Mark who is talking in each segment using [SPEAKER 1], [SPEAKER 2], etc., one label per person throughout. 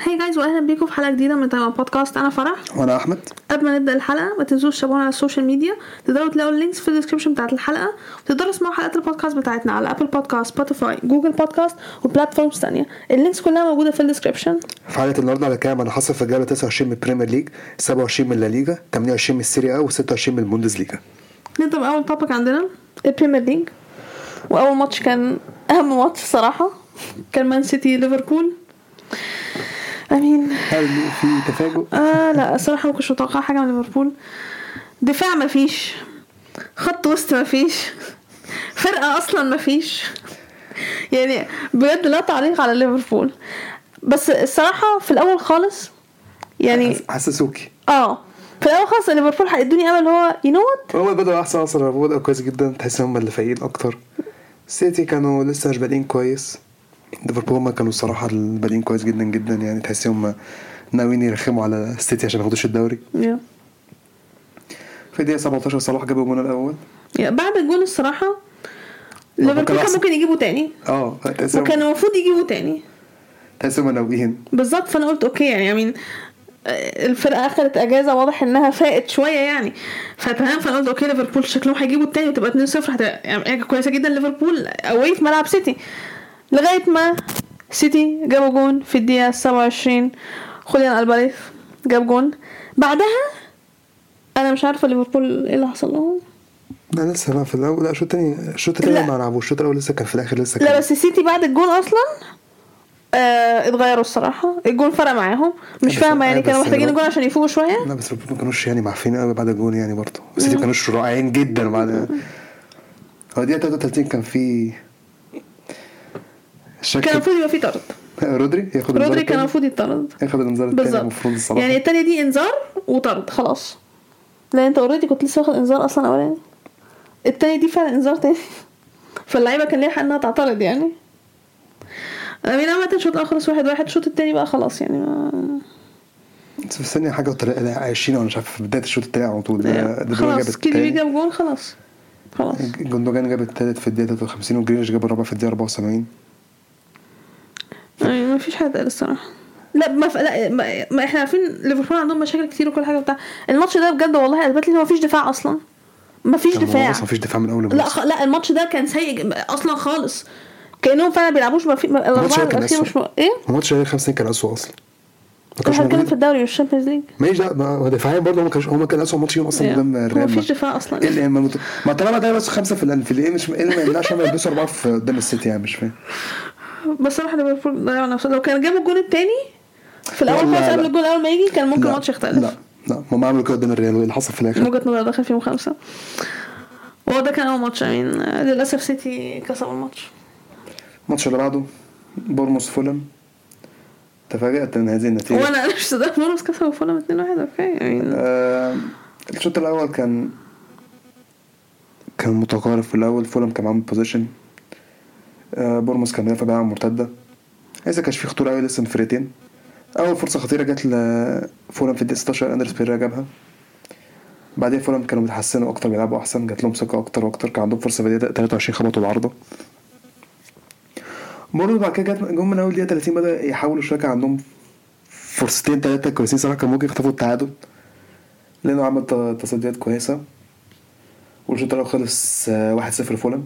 [SPEAKER 1] هاي جايز واهلا بيكم في حلقه جديده من طيب بودكاست انا فرح
[SPEAKER 2] وانا احمد
[SPEAKER 1] قبل ما نبدا الحلقه ما تنسوش تتابعونا على السوشيال ميديا تقدروا تلاقوا اللينكس في الديسكربشن بتاعت الحلقه وتقدروا تسمعوا حلقات البودكاست بتاعتنا على ابل بودكاست سبوتيفاي جوجل بودكاست وبلاتفورمز تانية اللينكس كلها موجوده في الديسكربشن
[SPEAKER 2] في حلقه النهارده هنتكلم على اللي حصل في الجوله 29 من البريمير ليج 27 من لا ليجا 28 من السيريا او 26 من البوندس ليجا
[SPEAKER 1] نبدا باول توبك عندنا البريمير ليج واول ماتش كان اهم ماتش الصراحه كان مان سيتي ليفربول امين
[SPEAKER 2] هل في تفاجؤ
[SPEAKER 1] آه لا الصراحة ما كنتش متوقعة حاجة من ليفربول دفاع ما فيش خط وسط ما فيش فرقة أصلا ما فيش يعني بجد لا تعليق على ليفربول بس الصراحة في الأول خالص يعني
[SPEAKER 2] حسسوكي
[SPEAKER 1] اه في الأول خالص ليفربول هيدوني أمل هو يو نو وات
[SPEAKER 2] هو بدأوا احسن اصلا هو بدأوا كويس جدا تحس ان هم اللي فايقين اكتر سيتي كانوا لسه مش بادئين كويس ليفربول هم كانوا الصراحه بادئين كويس جدا جدا يعني تحس هم ناويين يرخموا على السيتي عشان ما ياخدوش الدوري في الدقيقه 17 صلاح جاب الجون الاول
[SPEAKER 1] بعد الجون الصراحة ليفربول كان
[SPEAKER 2] أحسن.
[SPEAKER 1] ممكن يجيبوا تاني
[SPEAKER 2] اه تحس إنهم-
[SPEAKER 1] وكانوا المفروض يجيبوا تاني
[SPEAKER 2] تحس هم ناويين
[SPEAKER 1] بالظبط فانا قلت اوكي يعني امين الفرقه اخذت اجازه واضح انها فاقت شويه يعني فتمام فانا قلت اوكي ليفربول شكلهم هيجيبوا التاني وتبقى 2 0 هتبقى يعني حاجة كويسه جدا ليفربول اوي في ملعب سيتي لغايه ما سيتي جابوا جون في الدقيقه 27 خوليان الباريث جاب جون بعدها انا مش عارفه ليفربول ايه اللي حصل لهم
[SPEAKER 2] لا لسه لا في الاول لا الشوط الثاني الشوط الثاني
[SPEAKER 1] لا.
[SPEAKER 2] ما لعبوش الشوط الاول لسه كان في الاخر لسه
[SPEAKER 1] لا
[SPEAKER 2] كان
[SPEAKER 1] بس سيتي بعد الجون اصلا آه اتغيروا الصراحه الجون فرق معاهم مش
[SPEAKER 2] بس-
[SPEAKER 1] فاهمه يعني
[SPEAKER 2] بس
[SPEAKER 1] كانوا محتاجين
[SPEAKER 2] ليفربول-
[SPEAKER 1] الجون عشان يفوقوا شويه
[SPEAKER 2] لا بس ليفربول ما كانوش يعني معفين قوي بعد الجون يعني برضه السيتي ما كانوش رائعين جدا بعد هو دقيقة 33 كان في
[SPEAKER 1] كان
[SPEAKER 2] شك
[SPEAKER 1] المفروض يبقى في طرد
[SPEAKER 2] رودري ياخد الانذار
[SPEAKER 1] رودري كان
[SPEAKER 2] التاني.
[SPEAKER 1] المفروض يطرد
[SPEAKER 2] ياخد الانذار الثاني المفروض
[SPEAKER 1] بالظبط
[SPEAKER 2] الصراحة
[SPEAKER 1] يعني التانية دي انذار وطرد خلاص لا انت اوريدي كنت لسه واخد انذار اصلا اولاني التانية دي فعلا انذار تاني فاللعيبة كان ليها حق انها تعترض يعني امين عامة الشوط الاول خلص واحد واحد الشوط التاني بقى خلاص يعني ما...
[SPEAKER 2] بس في الثانية حاجة وطلع- لا، 20 ولا مش عارف في بداية الشوط الثاني على طول ده- ده جون جاب
[SPEAKER 1] خلاص كيدي
[SPEAKER 2] التاني. إيه،
[SPEAKER 1] جاب جون خلاص خلاص
[SPEAKER 2] جندوجان جاب الثالث في الدقيقة 53 وجرينش جاب الرابع في الدقيقة 74
[SPEAKER 1] يعني ما فيش حاجه تقال الصراحه لا ما, ف... لا ما... ما احنا عارفين ليفربول عندهم مشاكل كتير وكل حاجه بتاع الماتش ده بجد والله اثبت لي ان ما فيش دفاع اصلا ما فيش
[SPEAKER 2] كان
[SPEAKER 1] دفاع
[SPEAKER 2] خلاص مفيش دفاع من أول
[SPEAKER 1] لا
[SPEAKER 2] الموسم.
[SPEAKER 1] خ... لا الماتش ده كان سيء ج- اصلا خالص كانهم فعلا بيلعبوش ما في ما-
[SPEAKER 2] الماتش
[SPEAKER 1] الاربعه
[SPEAKER 2] ده كان
[SPEAKER 1] الاخير
[SPEAKER 2] أسوأ.
[SPEAKER 1] مش م... ايه
[SPEAKER 2] الماتش ده 50 كان أسوأ أصلا ما كانش
[SPEAKER 1] احنا بنتكلم
[SPEAKER 2] موجود
[SPEAKER 1] في الدوري والشامبيونز ليج
[SPEAKER 2] ماليش دعوه ما هو دفاعيا برضه هم كانوا هم كان اسوء ماتش فيهم اصلا
[SPEAKER 1] Yeah. هو
[SPEAKER 2] قدام الريال
[SPEAKER 1] مفيش
[SPEAKER 2] مدريد.
[SPEAKER 1] دفاع أصلا.
[SPEAKER 2] ايه اللي ما مت... ما طالما ده بس خمسه في الان في الايه مش ايه اللي ما يمنعش هم يلبسوا اربعه في قدام السيتي يعني مش فاهم
[SPEAKER 1] بس صراحه ليفربول ضيعوا نفسهم لو كان جابوا الجون الثاني في
[SPEAKER 2] لا،
[SPEAKER 1] الاول
[SPEAKER 2] لا،
[SPEAKER 1] خالص
[SPEAKER 2] لا.
[SPEAKER 1] قبل الجون اول ما يجي كان ممكن
[SPEAKER 2] لا،
[SPEAKER 1] الماتش يختلف
[SPEAKER 2] لا لا هم عملوا كده قدام الريال وايه اللي حصل في
[SPEAKER 1] من
[SPEAKER 2] الاخر
[SPEAKER 1] وجهه نظري دخل فيهم خمسه وهو ده كان اول ماتش امين للاسف سيتي كسب الماتش
[SPEAKER 2] الماتش اللي بعده بورموس فولم تفاجأت من هذه النتيجه
[SPEAKER 1] وانا انا مش صدق مرموش كسبوا فولم 2-1 اوكي امين
[SPEAKER 2] آه... الشوط الاول كان كان متقارب في الاول فولم كان معاهم بوزيشن آه بورموس كان بيدافع بقى عن مرتده لسه كانش فيه خطوره قوي لسه من فرقتين اول فرصه خطيره جت لفولم في الدقيقه 16 اندرس بيريرا جابها بعدين فولم كانوا بيتحسنوا اكتر بيلعبوا احسن جات لهم ثقه اكتر واكتر كان عندهم فرصه في الدقيقه 23 خبطوا العارضه برضه بعد كده جت- جم من اول دقيقه 30 بدا يحاولوا شويه كان عندهم فرصتين ثلاثه كويسين صراحه كان ممكن يخطفوا التعادل لانه عمل ت- تصديات كويسه والشوط الاول خلص آه، 1-0 فولم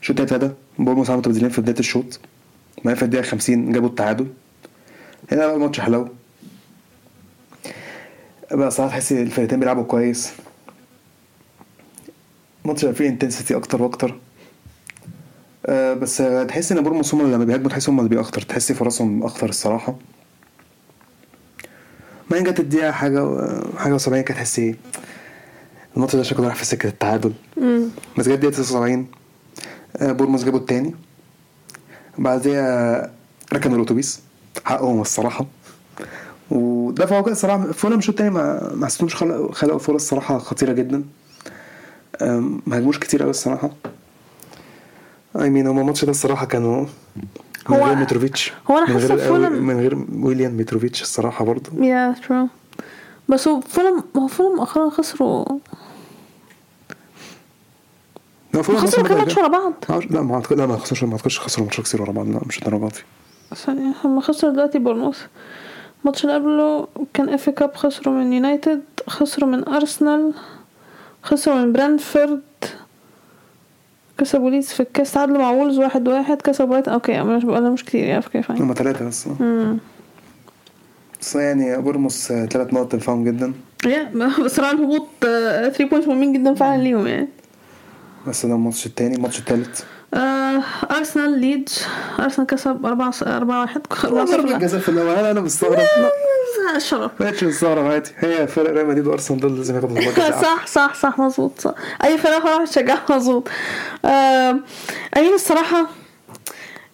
[SPEAKER 2] الشوط التالت ابتدى بورموس عملوا تبديلين في بدايه الشوط ما في الدقيقه 50 جابوا التعادل هنا بقى الماتش حلاوه بقى صراحه تحس الفرقتين بيلعبوا كويس الماتش بقى فيه انتنسيتي اكتر واكتر آه، بس آه، تحس ان بورموس هم لما بيهاجموا تحس هم اللي بيأخطر تحس فرصهم اخطر الصراحه ما جت الدقيقه حاجه حاجه و70 كانت تحس ايه الماتش ده شكله راح في سكه التعادل
[SPEAKER 1] أمم.
[SPEAKER 2] بس جت دقيقه 79 آه، بورموس جابوا التاني بعديها ركنوا الاتوبيس حقهم الصراحه ودفعوا كده الصراحه فولم شوط تاني ما ما حسيتهمش خلقوا خلقوا فرص صراحه خطيره جدا آم، ما هاجموش كتير قوي الصراحه اي مين هما الماتش ده الصراحه كانوا من
[SPEAKER 1] هو-
[SPEAKER 2] غير متروفيتش
[SPEAKER 1] هو أنا
[SPEAKER 2] من
[SPEAKER 1] حاسة
[SPEAKER 2] غير
[SPEAKER 1] فولم-
[SPEAKER 2] من غير ويليام متروفيتش الصراحه برضه
[SPEAKER 1] يا ترو بس هو فولم ما هو فولم مؤخرا خسروا
[SPEAKER 2] لا فولهام
[SPEAKER 1] خسروا
[SPEAKER 2] أصلاً
[SPEAKER 1] كام
[SPEAKER 2] بدأ
[SPEAKER 1] ماتش ورا بعض
[SPEAKER 2] معرفش- لا ما أعتقد- لا ما خسروش ما اعتقدش خسروا ماتش كتير ورا بعض لا مش للدرجه دي
[SPEAKER 1] ثانية هما خسروا دلوقتي بورنموث الماتش اللي قبله كان اف كاب خسروا من يونايتد خسروا من ارسنال خسروا من برانفورد كسبوا ليدز في الكاس تعادلوا مع وولز واحد واحد كسبوا برايتون اوكي أنا مش بقول مش كتير يعني اوكي فاين
[SPEAKER 2] هما ثلاثة بس بس يعني بورموس ثلاث نقط تنفعهم جدا
[SPEAKER 1] يا صراع الهبوط 3 بوينتس مهمين جدا فعلا ليهم يعني
[SPEAKER 2] بس ده الماتش التاني الماتش التالت
[SPEAKER 1] آه، ارسنال ليدز ارسنال كسب 4 4 1 4
[SPEAKER 2] ضربة
[SPEAKER 1] 0
[SPEAKER 2] الجزاء في الأول أنا أنا مستغرب لا
[SPEAKER 1] الشرف
[SPEAKER 2] ماتش مستغرب عادي هي فرق ريال مدريد وأرسنال دول لازم ياخدوا ضربة جزاء
[SPEAKER 1] صح صح صح مظبوط صح اي فرقه هروح اشجعها مظبوط آه، امين الصراحه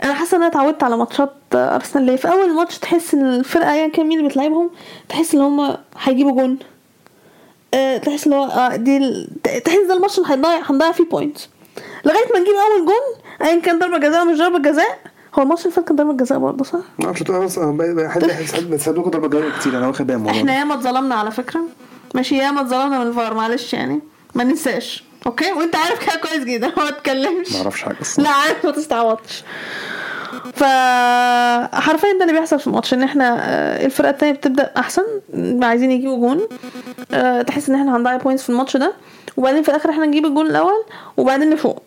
[SPEAKER 1] انا حاسه ان انا اتعودت على ماتشات آه، ارسنال اللي في اول ماتش تحس ان الفرقه ايا كان مين اللي بتلعبهم تحس ان هم هيجيبوا جون آه، تحس ان هو آه، دي ال- تحس ده الماتش اللي هنضيع هنضيع فيه بوينتس لغايه ما نجيب اول جون ايا كان ضربه جزاء أو مش ضربه جزاء هو الماتش اللي فات كان ضربه جزاء برضه صح؟
[SPEAKER 2] ما اعرفش بتقول اصلا حد
[SPEAKER 1] طيب.
[SPEAKER 2] بتساعد لكم ضربة جزاء كتير يعني انا واخد بالي من الموضوع
[SPEAKER 1] احنا
[SPEAKER 2] ده.
[SPEAKER 1] ياما اتظلمنا على فكره ماشي ياما اتظلمنا من الفار معلش يعني ما ننساش اوكي وانت عارف كده كويس جدا ما اتكلمش
[SPEAKER 2] ما اعرفش حاجة الصراحة.
[SPEAKER 1] لا عارف ما تستعوضش ف حرفيا ده اللي بيحصل في الماتش ان احنا آه، الفرقه التانية بتبدا احسن عايزين يجيبوا جون آه، تحس ان احنا هنضيع بوينتس في الماتش ده وبعدين في الاخر احنا نجيب الجون الاول وبعدين نفوق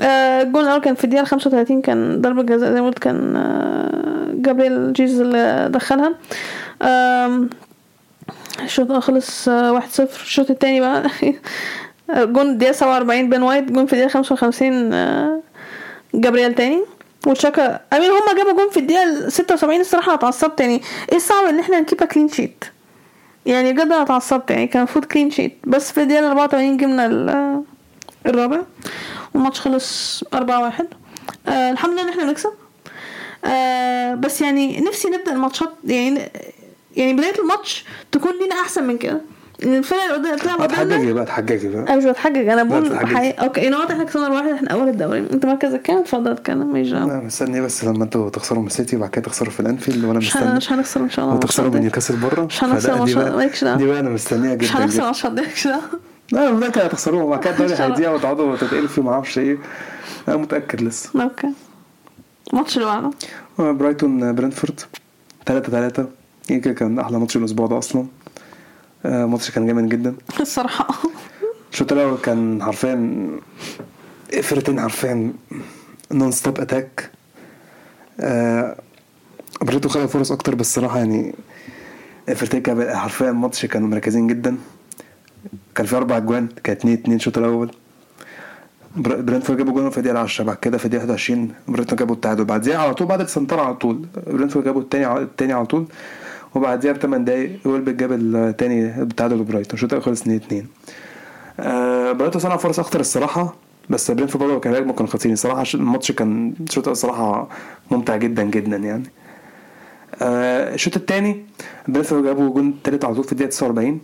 [SPEAKER 1] آه، الجون الاول كان في الدقيقه 35 كان ضربه جزاء زي ما قلت كان آه، جابريل جيزس اللي دخلها آم، الشوط الأول خلص آه، 1-0 الشوط التاني بقى جون الدقيقة 47 بين وايت جون في الدقيقة 55 آه، جابرييل تاني وتشاكا امين هما جابوا جون في الدقيقة 76 الصراحة أنا اتعصبت يعني ايه الصعب ان احنا نكيب كلين شيت يعني بجد انا اتعصبت يعني كان المفروض كلين شيت بس في الدقيقة 84 جبنا ال- الرابع والماتش خلص 4-1 آه الحمد لله ان احنا بنكسب آه بس يعني نفسي نبدا الماتشات يعني يعني بدايه الماتش تكون لينا احسن من كده ان الفرق اللي قدام بتلعب قدامنا
[SPEAKER 2] اتحججي بقى اتحججي بقى
[SPEAKER 1] انا مش بتحجج انا بقول
[SPEAKER 2] بتتحجج.
[SPEAKER 1] حقيقة. اوكي انا واضح احنا كسبنا 4 واحد احنا اول الدوري انت مركزك كام اتفضل اتكلم ماليش دعوة.
[SPEAKER 2] انا مستني بس لما انتوا تخسروا من سيتي وبعد كده تخسروا في الانفيلد وانا
[SPEAKER 1] مش هن-
[SPEAKER 2] مستني
[SPEAKER 1] مش هنخسر ان شاء الله
[SPEAKER 2] وتخسروا من
[SPEAKER 1] الماتشات دي.
[SPEAKER 2] نيوكاسل بره
[SPEAKER 1] آه، مش هنخسر
[SPEAKER 2] فده- دي
[SPEAKER 1] الماتشات-
[SPEAKER 2] بقى-
[SPEAKER 1] مالكش دعوة.
[SPEAKER 2] دي بقى انا مستنيها
[SPEAKER 1] مش
[SPEAKER 2] جدا
[SPEAKER 1] هنخسر
[SPEAKER 2] جدا
[SPEAKER 1] الماتشات دي مش دعوة.
[SPEAKER 2] لا من بداية هتخسروها وبعد كده الدوري
[SPEAKER 1] إن شاء الله.
[SPEAKER 2] هيضيع وتقعدوا تتقلب فيه معرفش ايه انا متأكد لسه آه،
[SPEAKER 1] اوكي الماتش اللي بعده
[SPEAKER 2] برايتون برنتفورد 3 3 يمكن كان احلى ماتش الاسبوع ده اصلا آه، ماتش كان جامد جدا
[SPEAKER 1] الصراحه
[SPEAKER 2] الشوط الاول كان حرفيا فرقتين حرفيا نون ستوب اتاك آه، بريتو خلق فرص اكتر بس الصراحه يعني الفرقتين كان حرفيا ماتش كانوا مركزين جدا كان في اربع اجوان كانت 2 2 الشوط الاول بر- برينفورد جابوا جون في الدقيقه 10 بعد كده في الدقيقه 21 برينفورد جابوا التعادل بعديها على طول بعد السنتر على طول برينفورد جابوا التاني على- التاني على طول وبعديها بثمان دقايق ويلبك جاب التاني التعادل لبرايتون الشوط الاول خلص 2 2 آه، برايتون صنع فرص اكتر الصراحه بس برينفورد برضه كان هجمه كان خطير الصراحه ش- الماتش كان الشوط الأول الصراحه ممتع جدا جدا يعني آه، الشوط الثاني برينفورد جابوا جون تالت على طول في الدقيقه 49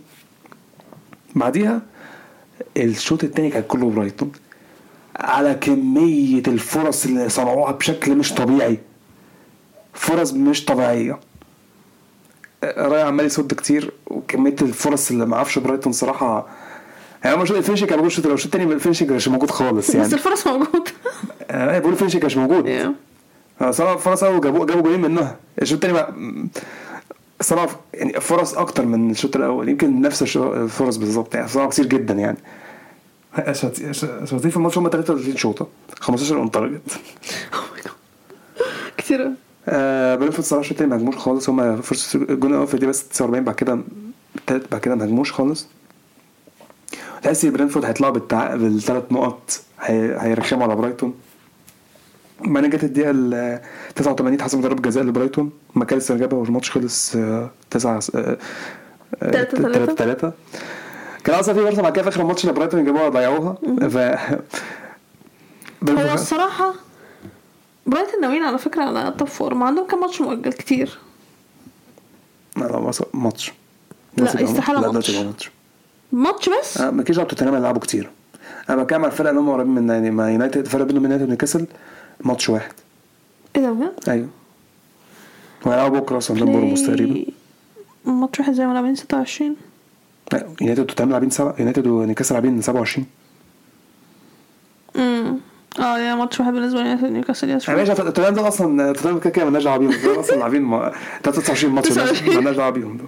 [SPEAKER 2] بعديها الشوط الثاني كان كله برايتون على كميه الفرص اللي صنعوها بشكل مش طبيعي فرص مش طبيعيه راي عمال يصد كتير وكميه الفرص اللي ما اعرفش برايتون صراحه يعني هو مش الفينش كان موجود الشوط الأول، الشوط الثاني الفينش كانش موجود خالص
[SPEAKER 1] بس يعني
[SPEAKER 2] يعني
[SPEAKER 1] الفرص موجوده
[SPEAKER 2] آه، بقول الفينش كانش موجود
[SPEAKER 1] Yeah.
[SPEAKER 2] آه، صنع فرص اول جابوا جابوا جولين منها الشوط الثاني صنع يعني فرص اكتر من الشوط الاول يمكن نفس الش- الفرص بالظبط يعني صنعوا كتير جدا يعني شاطين في الماتش هم 33 شوطه 15 اون تارجت
[SPEAKER 1] Oh كتير أوي.
[SPEAKER 2] آه برينفورد صراحه الشوط التاني ما هجموش خالص هم فرصه الجون الاول في دي بس 49 بعد كده التالت بعد كده ما هجموش خالص تحس ان برينفورد هيطلعوا بالتع... بالثلاث نقط هي... هيرخموا على برايتون بعدين جت الدقيقه ال 89 اتحسب ضربه جزاء لبرايتون ماكاليستر جابها والماتش خلص آه، 9
[SPEAKER 1] تلاتة تلاتة.
[SPEAKER 2] 3 3 آه، كان اصلا في فرصه بعد كده في اخر الماتش لبرايتون جابوها ضيعوها ف
[SPEAKER 1] هو
[SPEAKER 2] برينفورد-
[SPEAKER 1] الصراحة برايتون ناويين على فكرة على توب فور ما عندهم كام ماتش مؤجل كتير
[SPEAKER 2] لا لا مص- ماتش
[SPEAKER 1] لا،
[SPEAKER 2] لازم يبقى
[SPEAKER 1] استحالة
[SPEAKER 2] لا، لازم
[SPEAKER 1] ماتش.
[SPEAKER 2] يبقى ماتش
[SPEAKER 1] ماتش بس
[SPEAKER 2] آه، ما كانش رابطه تماما لعبوا كتير انا بتكلم على الفرق اللي هم قريبين من يعني ما يونايتد الفرق بينهم يونايتد ونيوكاسل ماتش واحد
[SPEAKER 1] ايه ده بجد؟
[SPEAKER 2] ايوه وهيلعبوا بكره اصلا
[SPEAKER 1] يعني
[SPEAKER 2] قدام بورموس تقريبا
[SPEAKER 1] ماتش واحد زي ما لاعبين 26
[SPEAKER 2] لا، يونايتد وتمام لاعبين سبعة يونايتد ونيوكاسل لاعبين 27
[SPEAKER 1] اه يا ماتش واحد بالنسبه لي نيوكاسل
[SPEAKER 2] انا
[SPEAKER 1] يشوف
[SPEAKER 2] مش عارف توتنهام ده اصلا توتنهام كده كده مالناش دعوه بيهم دول اصلا لاعبين ما- 23 ماتش
[SPEAKER 1] 29.
[SPEAKER 2] مالناش دعوه بيهم دول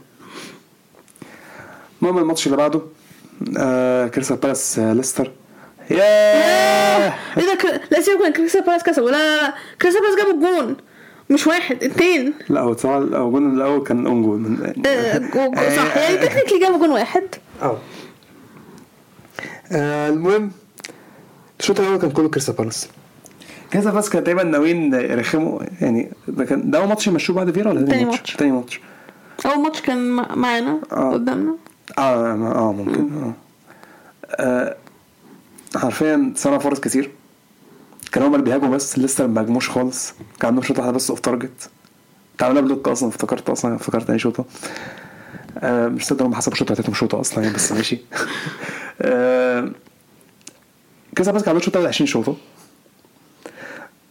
[SPEAKER 2] المهم الماتش اللي بعده آه كريستال بالاس آه ليستر ياه
[SPEAKER 1] ايه ده كر- لا سيبك من كريستال بالاس كسب لا لا لا كريستال بالاس جابوا الجون مش واحد اتنين
[SPEAKER 2] لا هو طبعا الجون الاول كان اون جول من
[SPEAKER 1] آه، جو- جو- صح يعني تكنيكلي جابوا جون واحد
[SPEAKER 2] اه آه، المهم الشوط الاول كان كله كريستال بالاس كريستال بالاس كانوا تقريبا ناويين يرخموا يعني ده كان ده اول ماتش يمشوه بعد فيرا ولا
[SPEAKER 1] تاني
[SPEAKER 2] تاني
[SPEAKER 1] ماتش.
[SPEAKER 2] ماتش؟ تاني ماتش
[SPEAKER 1] اول ماتش كان مع- معانا
[SPEAKER 2] آه.
[SPEAKER 1] قدامنا
[SPEAKER 2] اه ما- اه ممكن اه آه، حرفيا صنع فرص كتير كانوا هما اللي بيهاجموا بس لسه ما هاجموش خالص كان عندهم شوطه واحده بس اوف تارجت تعملنا بلوك اصلا افتكرت اصلا افتكرت اي شوطه آه مش صدق هم حسبوا الشوطه بتاعتهم شوطه اصلا يعني بس ماشي آه كذا بس كان عندهم شوطه واحدة 20 شوطه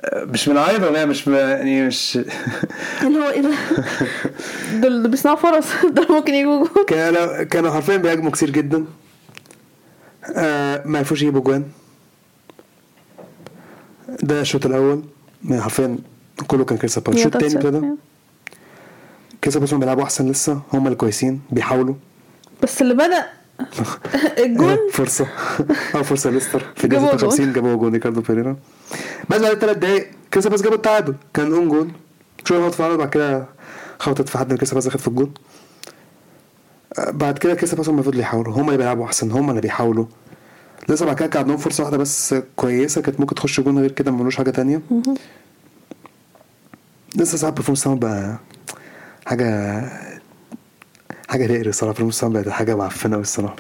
[SPEAKER 2] آه، مش من عايضة والله مش م- يعني مش
[SPEAKER 1] اللي هو ايه ده دول اللي بيصنعوا فرص دول ممكن يجوا جون
[SPEAKER 2] كانوا كانوا حرفيا بيهاجموا كتير جدا آه ما عرفوش يجيبوا جوان ده الشوط الاول يعني حرفيا كله كان كريستال بالاس الشوط الثاني ابتدى كريستال بالاس هم بيلعبوا احسن لسه هم اللي كويسين بيحاولوا
[SPEAKER 1] بس اللي بدا الجون
[SPEAKER 2] آه، فرصه اه فرصه ليستر في
[SPEAKER 1] جابوا
[SPEAKER 2] الدقيقه
[SPEAKER 1] جون.
[SPEAKER 2] 56 جابوا جون ريكاردو بيريرا بعد بعد ثلاث دقايق كريستال بالاس جابوا التعادل كان اون جون شويه غلط في العرض، بعد كده خبطت في حد كريستال بالاس اخد في الجون آه، بعد كده كريستال بالاس هم فضلوا يحاولوا هم اللي بيلعبوا احسن هم اللي بيحاولوا لسه بعد كده كان عندهم فرصه واحده بس كويسه كانت ممكن تخش جون غير كده ما عملوش حاجه تانية لسه ساعات برفورمانس تاون بقى حاجه حاجه تقري الصراحه برفورمانس تاون بقت حاجه معفنه أوي الصراحه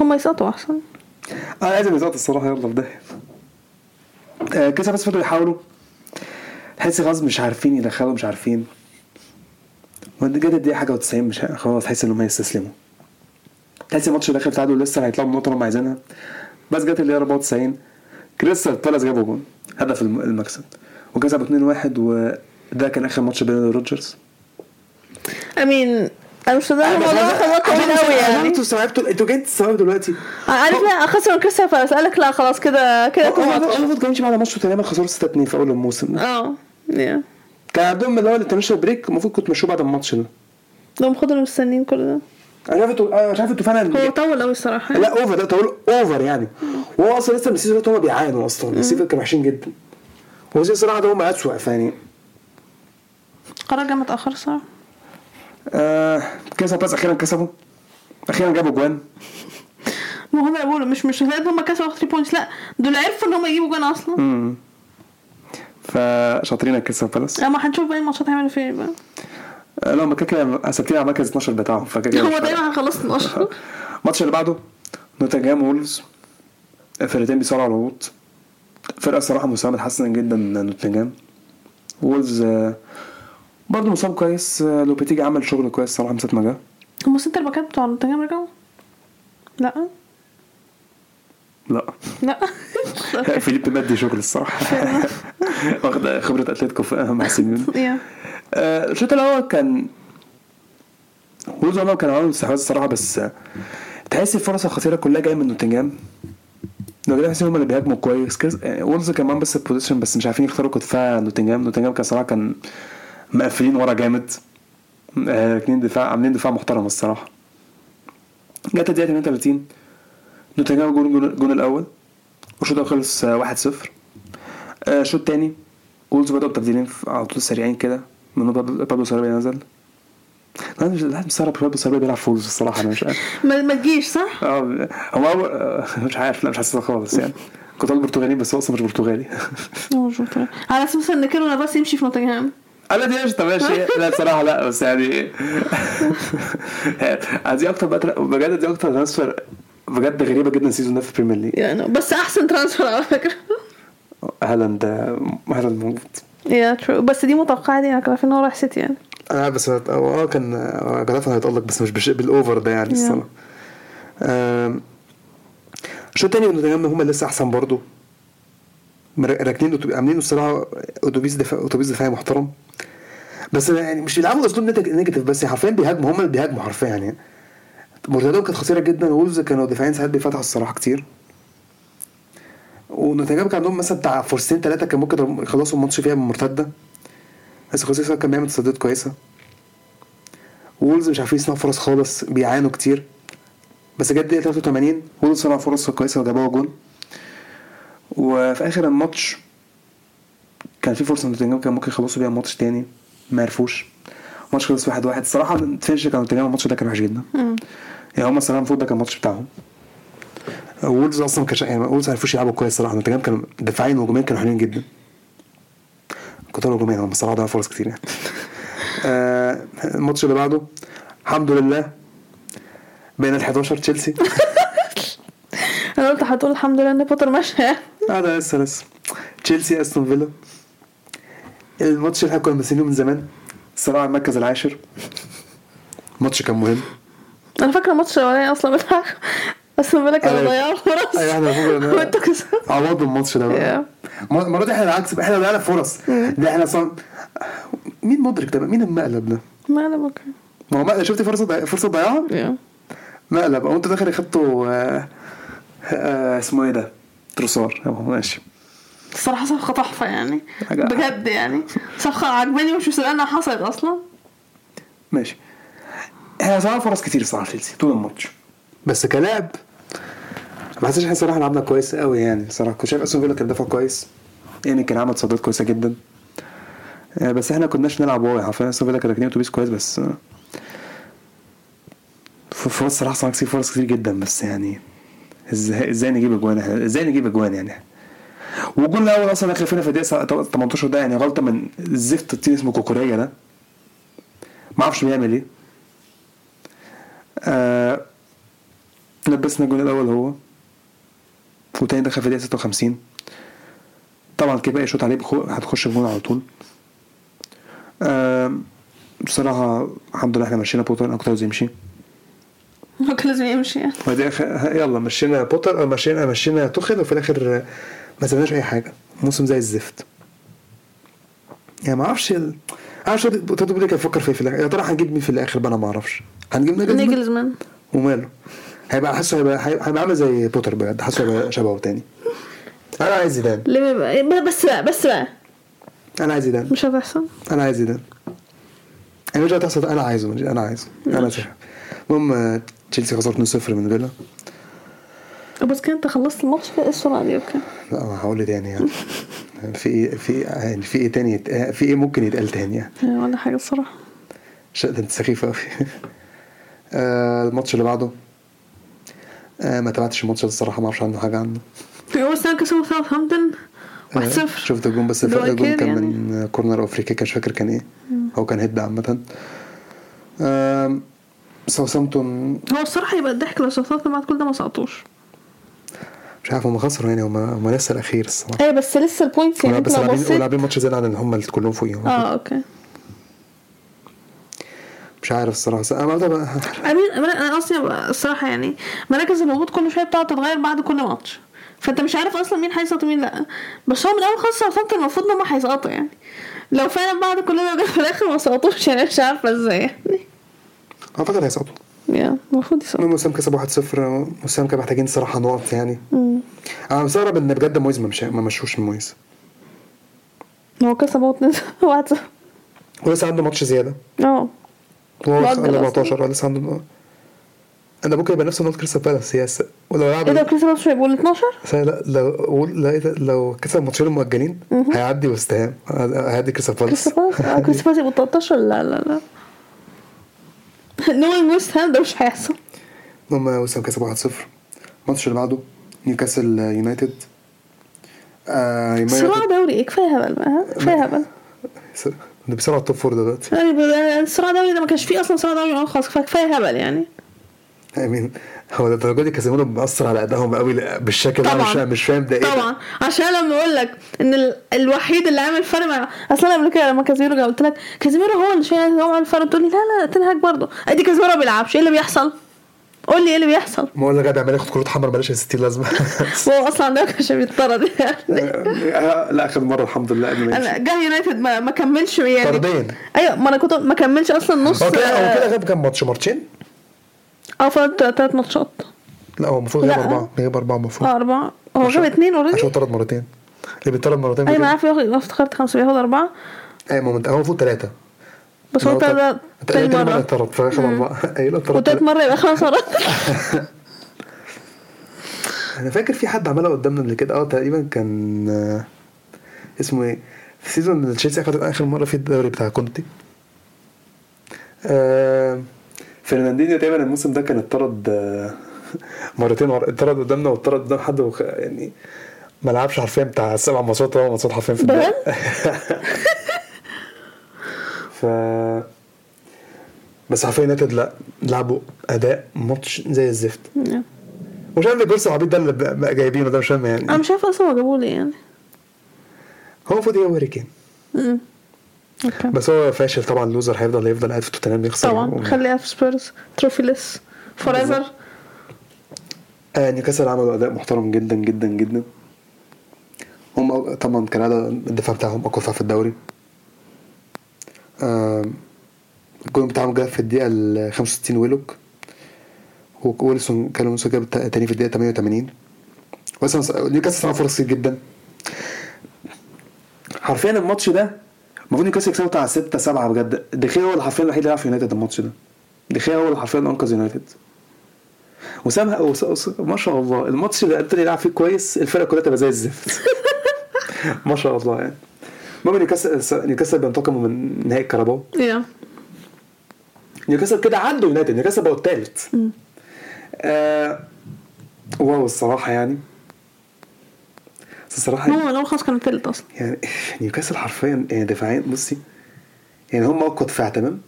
[SPEAKER 1] هم يسقطوا احسن
[SPEAKER 2] اه لازم يزقط الصراحه يلا في داهيه آه، كذا بس فضلوا يحاولوا تحس خلاص مش عارفين يدخلوا مش عارفين وجت الدقيقه حاجه و90 مش ه- خلاص تحس ان هم هيستسلموا تحس الماتش داخل تعادل لسه هيطلعوا بالنقطه اللي هم عايزينها بس جت الدقيقه 94 كريستال بالاس جابوا جون هدف الم- المكسب وكسبوا 2-1 وده كان اخر ماتش بين روجرز
[SPEAKER 1] امين انا مش مصدقه الموضوع خلاص طويل آه، قوي يعني
[SPEAKER 2] انتوا استوعبتوا انتوا جايين تستوعبوا دلوقتي
[SPEAKER 1] عارف لا خسروا كريستال بالاس قال لك لا خلاص كده كده تو
[SPEAKER 2] هو
[SPEAKER 1] ماتش
[SPEAKER 2] المفروض كانش بعد ماتش توتنهام خسروا 6-2 في اول الموسم
[SPEAKER 1] اه yeah.
[SPEAKER 2] كان عندهم اللي هو الانترناشونال بريك المفروض كنت مشوه بعد الماتش ده
[SPEAKER 1] لو خدوا مستنيين كل ده
[SPEAKER 2] انا عارف انتوا انا مش عارف انتوا
[SPEAKER 1] هو
[SPEAKER 2] فعلا
[SPEAKER 1] طول قوي الصراحه يعني.
[SPEAKER 2] لا اوفر ده طول اوفر يعني وهو اصلا لسه من السيزون ده هم بيعانوا اصلا السيزون كانوا وحشين جدا هو السيزون الصراحه ده هم اسوء فيعني
[SPEAKER 1] قرار جه متاخر الصراحه
[SPEAKER 2] آه كسب بس اخيرا كسبوا اخيرا جابوا جوان
[SPEAKER 1] ما هم بيقولوا مش مش هتلاقي هم كسبوا 3 بوينتس لا دول عرفوا ان هم يجيبوا جون اصلا
[SPEAKER 2] امم فشاطرين الكسب بالاس
[SPEAKER 1] اما هنشوف باقي الماتشات هيعملوا فين بقى
[SPEAKER 2] آه، لا هم كده كده ثابتين على مركز 12 بتاعهم فكده كده مش
[SPEAKER 1] هو
[SPEAKER 2] فارقة.
[SPEAKER 1] دايما هيخلص 12
[SPEAKER 2] الماتش اللي بعده نوتنجهام وولز الفرقتين بيصارعوا على الهبوط فرقة الصراحة مستواها متحسن جدا نوتنجهام وولز آه، برضه مستوى كويس آه، لوبيتيجي عمل شغل كويس صراحة من ساعة ما جه
[SPEAKER 1] هم السنتر باكات بتوع نوتنجهام رجعوا؟ لا
[SPEAKER 2] لا
[SPEAKER 1] لا
[SPEAKER 2] فيليب مادي شغل الصراحة واخد خبرة اتلتيكو في- مع سيميون
[SPEAKER 1] يا.
[SPEAKER 2] آه، الشوط الاول كان وولز هم كانوا عاملين استحواذ الصراحه بس آه، تحس الفرص الخطيره كلها جايه من نوتنجهام نوتنجهام تحس هم اللي بيهاجموا كويس كز- آه، وولز كمان بس البوزيشن بس مش عارفين يختاروا كدفاع نوتنجهام نوتنجهام كان صراحه كان مقفلين ورا جامد آه، اتنين دفاع عاملين دفاع محترم الصراحه جت الدقيقه 38 نوتنجهام جون جون- الجون الاول والشوط الاول خلص آه، 1-0 آه، الشوط الثاني وولز بدأوا بتبديلين في- على طول سريعين كده من بابلو بابلو سارابيا نزل انا مش مش مستغرب بابلو سارابيا بيلعب فولز الصراحه انا مش عارف
[SPEAKER 1] ما ما تجيش صح؟
[SPEAKER 2] اه هو أول- آه، مش عارف لا مش حاسسها خالص يعني كنت أقول برتغالي بس هو اصلا مش برتغالي
[SPEAKER 1] هو مش مقتنع. على اساس ان كيلو نافاس يمشي في نوتنجهام
[SPEAKER 2] انا دي مش ماشي لا بصراحه لا بس يعني آه، دي اكتر بقى- بجد دي اكتر ترانسفير بجد غريبه جدا السيزون ده في البريمير ليج
[SPEAKER 1] يعني بس احسن ترانسفير على فكره
[SPEAKER 2] هالاند آه، هالاند موجود
[SPEAKER 1] يا ترو بس دي متوقعه دي انا كنت عارفين ان هو رايح سيتي يعني
[SPEAKER 2] اه بس هت- هو اه كان آه، جلاتون هيتألق بس مش بالشيء بالاوفر ده يعني
[SPEAKER 1] Yeah.
[SPEAKER 2] الصراحه آم، الشوط التاني نوتنجهام هم لسه احسن برضه مر- راكنين أوتو- عاملين الصراحه اتوبيس دفاع اتوبيس دفاعي محترم بس يعني مش بيلعبوا اسلوب نت- نيجاتيف بس حرفيا بيهاجموا هم اللي بيهاجموا حرفيا يعني مرتدهم كانت خطيره جدا وولز كانوا دفاعين ساعات بيفتحوا الصراحه كتير و ونوتنجهام كان عندهم مثلا بتاع فرصتين ثلاثه كان ممكن يخلصوا الماتش فيها بمرتده بس خوسيه كان بيعمل تصديات كويسه وولز مش عارفين يصنعوا فرص خالص بيعانوا كتير بس جت دقيقه 83 وولز صنعوا فرص كويسه وجابوها جون وفي اخر الماتش كان في فرصه نوتنجهام كان ممكن يخلصوا بيها الماتش تاني ما عرفوش الماتش خلص 1-1 واحد واحد. الصراحه الفينش كان نوتنجهام الماتش ده كان وحش جدا يعني هم الصراحه المفروض ده كان الماتش بتاعهم وولز اصلا كانش يعني وولز ما عرفوش يلعبوا كويس صراحه نوتنجهام كان دفاعيا وهجوميا كانوا حلوين جدا كنت هجوميا هم الصراحه ضيعوا فرص كتير يعني آه، الماتش اللي بعده الحمد لله بين ال 11 تشيلسي
[SPEAKER 1] انا قلت هتقول الحمد لله ان بوتر مشى
[SPEAKER 2] اه ده لسه لسه تشيلسي استون فيلا الماتش اللي احنا كنا مستنيينه من زمان الصراحه على المركز العاشر الماتش كان مهم
[SPEAKER 1] انا فاكره الماتش الاولاني اصلا بتاع اصلا بالك انا
[SPEAKER 2] أيوة.
[SPEAKER 1] ضيعوا فرص
[SPEAKER 2] أيوة، إحنا المفروض إن-
[SPEAKER 1] وانتوا كسبتوا
[SPEAKER 2] عوضوا الماتش ده بقى
[SPEAKER 1] Yeah.
[SPEAKER 2] م- المره دي احنا العكس احنا ضيعنا فرص ده احنا صن... مين مدرك ده بقى؟ مين المقلب ده؟
[SPEAKER 1] ما انا بكره
[SPEAKER 2] ما هو مقلب شفت فرصه ضي... فرصه ضيعها
[SPEAKER 1] يا.
[SPEAKER 2] مقلب او انت داخل اخدته آه، آه، اسمه ايه ده؟ تروسار أهو، ماشي
[SPEAKER 1] الصراحه صفقه تحفه يعني
[SPEAKER 2] حاجة-
[SPEAKER 1] بجد يعني صفقه عجباني ومش مصدقه انها حصلت اصلا
[SPEAKER 2] ماشي احنا صنعنا فرص كتير صراحه تشيلسي طول الماتش بس كلاعب ما حسيتش احنا صراحه لعبنا كويس قوي يعني صراحه كنت شايف استون فيلا كان دافع كويس يعني كان عمل تصديات كويسه جدا آه، بس احنا كناش نلعب واعي حرفيا استون فيلا كان راكنين اتوبيس كويس بس آه، ف- فرص صراحه صنعنا كتير فرص كتير جدا بس يعني ازاي ازاي نجيب اجوان احنا ازاي نجيب اجوان يعني والجول الاول اصلا داخل فينا في الدقيقه 18 ده يعني غلطه من زفت التين اسمه كوكوريا ده ما اعرفش بيعمل ايه آه لبسنا الجول الاول هو وتاني دخل في دقيقه 56 طبعا كده بقى يشوط عليه بخو... هتخش في جون على طول آه بصراحه الحمد لله احنا مشينا بوتر انا كنت عاوز يمشي
[SPEAKER 1] هو كان لازم يمشي يعني
[SPEAKER 2] وبعدين أخ... يلا مشينا بوتر او مشينا مشينا توخيل وفي الاخر ما سبناش اي حاجه موسم زي الزفت يعني ما اعرفش ال... عارف تاتو بيلي كان بيفكر في إيه في الاخر يا ترى هنجيب مين في الاخر بقى انا ما اعرفش هنجيب نجم
[SPEAKER 1] نيجلزمان
[SPEAKER 2] وماله هيبقى حاسه هيبقى هيبقى عامل زي بوتر بجد حاسه هيبقى شبهه تاني انا عايز زيدان
[SPEAKER 1] ليه بقى- بس بقى بس بقى
[SPEAKER 2] انا عايز زيدان
[SPEAKER 1] مش هتحصل
[SPEAKER 2] انا عايز زيدان انا مش هتحصل انا عايزه انا عايزه انا شايف المهم آه، تشيلسي خسرت 2-0 من فيلا
[SPEAKER 1] بس كده انت خلصت الماتش بقى ايه السرعه دي اوكي
[SPEAKER 2] لا انا هقول ايه تاني يعني في ايه في إيه- يعني في ايه تاني يت- في ايه ممكن يتقال تاني يعني
[SPEAKER 1] يعني ولا حاجه الصراحه
[SPEAKER 2] ش- ده انت سخيف قوي الماتش اللي بعده آه، ما تابعتش الماتش ده الصراحه ما اعرفش عنه حاجه عنه
[SPEAKER 1] هو السنه كسبوا ساوثهامبتون 1
[SPEAKER 2] آه،
[SPEAKER 1] 0
[SPEAKER 2] شفت الجون بس
[SPEAKER 1] اللي هو
[SPEAKER 2] الفرق الجون
[SPEAKER 1] أكيد
[SPEAKER 2] كان
[SPEAKER 1] يعني.
[SPEAKER 2] من كورنر افريقيا كان مش فاكر كان ايه هو كان هيد عامه آم، ساوثامبتون
[SPEAKER 1] هو الصراحه يبقى الضحك لو ساوثهامبتون بعد كل ده ما سقطوش
[SPEAKER 2] مش عارف هم خسروا يعني هم هم لسه الاخير الصراحه
[SPEAKER 1] ايوه بس لسه البوينتس يعني
[SPEAKER 2] ولا-
[SPEAKER 1] انت
[SPEAKER 2] بس
[SPEAKER 1] لو
[SPEAKER 2] لاعبين
[SPEAKER 1] بصيت
[SPEAKER 2] ولاعبين ماتش زيادة عن اللي هم اللي كلهم فوقيهم
[SPEAKER 1] اه اوكي
[SPEAKER 2] مش عارف الصراحه بس انا بقى
[SPEAKER 1] أمين انا قصدي بقى الصراحه يعني مراكز الهبوط كل شويه بتقعد تتغير بعد كل ماتش فانت مش عارف اصلا مين هيسقط ومين لا بس هو من الاول خالص ساوثهامبتون المفروض ان هم هيسقطوا يعني لو فعلا بعد كل ده جه في الاخر ما سقطوش يعني مش عارفه ازاي يعني
[SPEAKER 2] اعتقد هيسقطوا
[SPEAKER 1] يا المفروض يسقطوا
[SPEAKER 2] المهم وسام كسب 1-0 وسام كان محتاجين صراحه نقط يعني انا مستغرب ان بجد مويز ما مش ما مشوش من مويز
[SPEAKER 1] هو كسبوا 2
[SPEAKER 2] ولسه عنده ماتش زياده
[SPEAKER 1] اه
[SPEAKER 2] وهو
[SPEAKER 1] مؤجل أصلاً.
[SPEAKER 2] عنده 14 آه، لسه عنده انا ممكن يبقى نفس نقط كريستال بالاس هي س- ولو لعب
[SPEAKER 1] ايه ده كريستال مش هيبقوا 12
[SPEAKER 2] س- لا لو لا إيه ده، لو كسب الماتشين المؤجلين هيعدي وست هام آه، هيعدي كريستال بالاس
[SPEAKER 1] كريستال اه كريستال يبقوا 13 لا لا لا نوين ويست هام ده مش هيحصل
[SPEAKER 2] المهم وسام كسب 1-0 الماتش اللي بعده نيوكاسل آه، يونايتد آه
[SPEAKER 1] صراع
[SPEAKER 2] يونايتد
[SPEAKER 1] دوري ايه كفايه هبل بقى ها؟ كفايه هبل
[SPEAKER 2] س- ده بيصارع التوب فور دلوقتي
[SPEAKER 1] يعني ب- الصراع دوري ده ما كانش فيه اصلا صراع دوري آه، من خالص كفايه كفايه هبل يعني
[SPEAKER 2] امين هو ده الدرجه دي كازيميرو بيأثر على ادائهم قوي بالشكل ده أنا مش
[SPEAKER 1] طبعا.
[SPEAKER 2] مش فاهم ده ايه ده.
[SPEAKER 1] طبعا عشان لما اقول لك ان ال... الوحيد اللي عامل فرق مع اصلا قبل كده لما كازيميرو جه قلت لك كازيميرو هو اللي شايل هو عامل فرق تقول لي لا لا تنهاج برضه ادي كازيميرو ما بيلعبش ايه اللي بيحصل؟ قول لي ايه اللي بيحصل؟
[SPEAKER 2] ما هو اللي قاعد عمال ياخد كروت حمر مالهاش 60 لازمه
[SPEAKER 1] وهو اصلا ده كانش بيطرد يعني
[SPEAKER 2] آه، لا اخر مره الحمد لله قبل ما يمشي.
[SPEAKER 1] انا جه يونايتد ما, ما كملش يعني
[SPEAKER 2] طردين.
[SPEAKER 1] ايوه ما انا كنت ما كملش اصلا نص
[SPEAKER 2] هو كده هو كده
[SPEAKER 1] اه
[SPEAKER 2] غاب كام ماتش ماتشين؟
[SPEAKER 1] آه، فات ثلاث ماتشات
[SPEAKER 2] لا هو المفروض غاب
[SPEAKER 1] لا.
[SPEAKER 2] اربعه غاب اربعه المفروض
[SPEAKER 1] اه اربعه هو جاب اتنين اوريدي
[SPEAKER 2] عشان طرد مرتين اللي بيطرد مرتين
[SPEAKER 1] ايوه
[SPEAKER 2] بيجيب-
[SPEAKER 1] ما عارف ياخد أنا افتكرت خمسه بياخد اربعه
[SPEAKER 2] ايوه ما هو المفروض- هو المفروض ثلاثة
[SPEAKER 1] بس هو طرد تاني مره
[SPEAKER 2] طرد فاخد أربعة أيوة طرد
[SPEAKER 1] وتالت مره يبقى خمس مرات
[SPEAKER 2] انا فاكر في حد عملها قدامنا قبل كده اه تقريبا كان آه، اسمه ايه في سيزون اللي تشيلسي اخدت اخر مره في الدوري بتاع كونتي آه فرناندينيو تقريبا الموسم ده كان اتطرد آه، مرتين ورا- اتطرد قدامنا واتطرد قدام حد وخ... يعني ما لعبش حرفيا بتاع سبع ماتشات او ماتشات حرفيا في الدوري
[SPEAKER 1] بجد؟
[SPEAKER 2] ف بس حرفيا يونايتد لا لعبوا اداء ماتش زي الزفت مش عارف الجول العبيط ده اللي بقى جايبينه ده مش فاهم يعني
[SPEAKER 1] انا مش عارفه اصلا هو جابوه ليه يعني
[SPEAKER 2] هو المفروض يبقى هاري كين
[SPEAKER 1] أمم. أوكي.
[SPEAKER 2] بس هو فاشل طبعا لوزر هيفضل هيفضل قاعد في توتنهام يخسر
[SPEAKER 1] طبعا
[SPEAKER 2] و-
[SPEAKER 1] خليها في سبيرز تروفيلس فور ايفر
[SPEAKER 2] بالظبط. آه نيوكاسل عملوا اداء محترم جدا جدا جدا هم أو- طبعا كالعاده الدفاع بتاعهم اقوى دفاع في الدوري آم، الجول بتاعهم جه في الدقيقه ال 65 ويلوك وويلسون كان ويلسون جاب التا- التاني في الدقيقه 88 اصلا نيوكاسل صنع فرص كتير جدا حرفيا الماتش ده المفروض نيوكاسل يكسبوا بتاع 6 7 بجد دخيا هو اللي حرفيا الوحيد اللي لعب في يونايتد الماتش ده دخيا هو اللي حرفيا انقذ يونايتد وسامها وس... وس... ما شاء الله الماتش اللي انتوني لعب فيه كويس الفرقه كلها تبقى زي الزفت ما شاء الله يعني المهم نيوكاسل نيوكاسل بينتقموا من نهائي الكاراباو
[SPEAKER 1] يا
[SPEAKER 2] نيوكاسل كده عدوا يونايتد نيوكاسل بقوا الثالث آه... واو الصراحه يعني بس الصراحه
[SPEAKER 1] هو لو خلاص كان تالت اصلا
[SPEAKER 2] يعني نيوكاسل حرفيا يعني دفاعيا بصي يعني هم اقوى دفاع تمام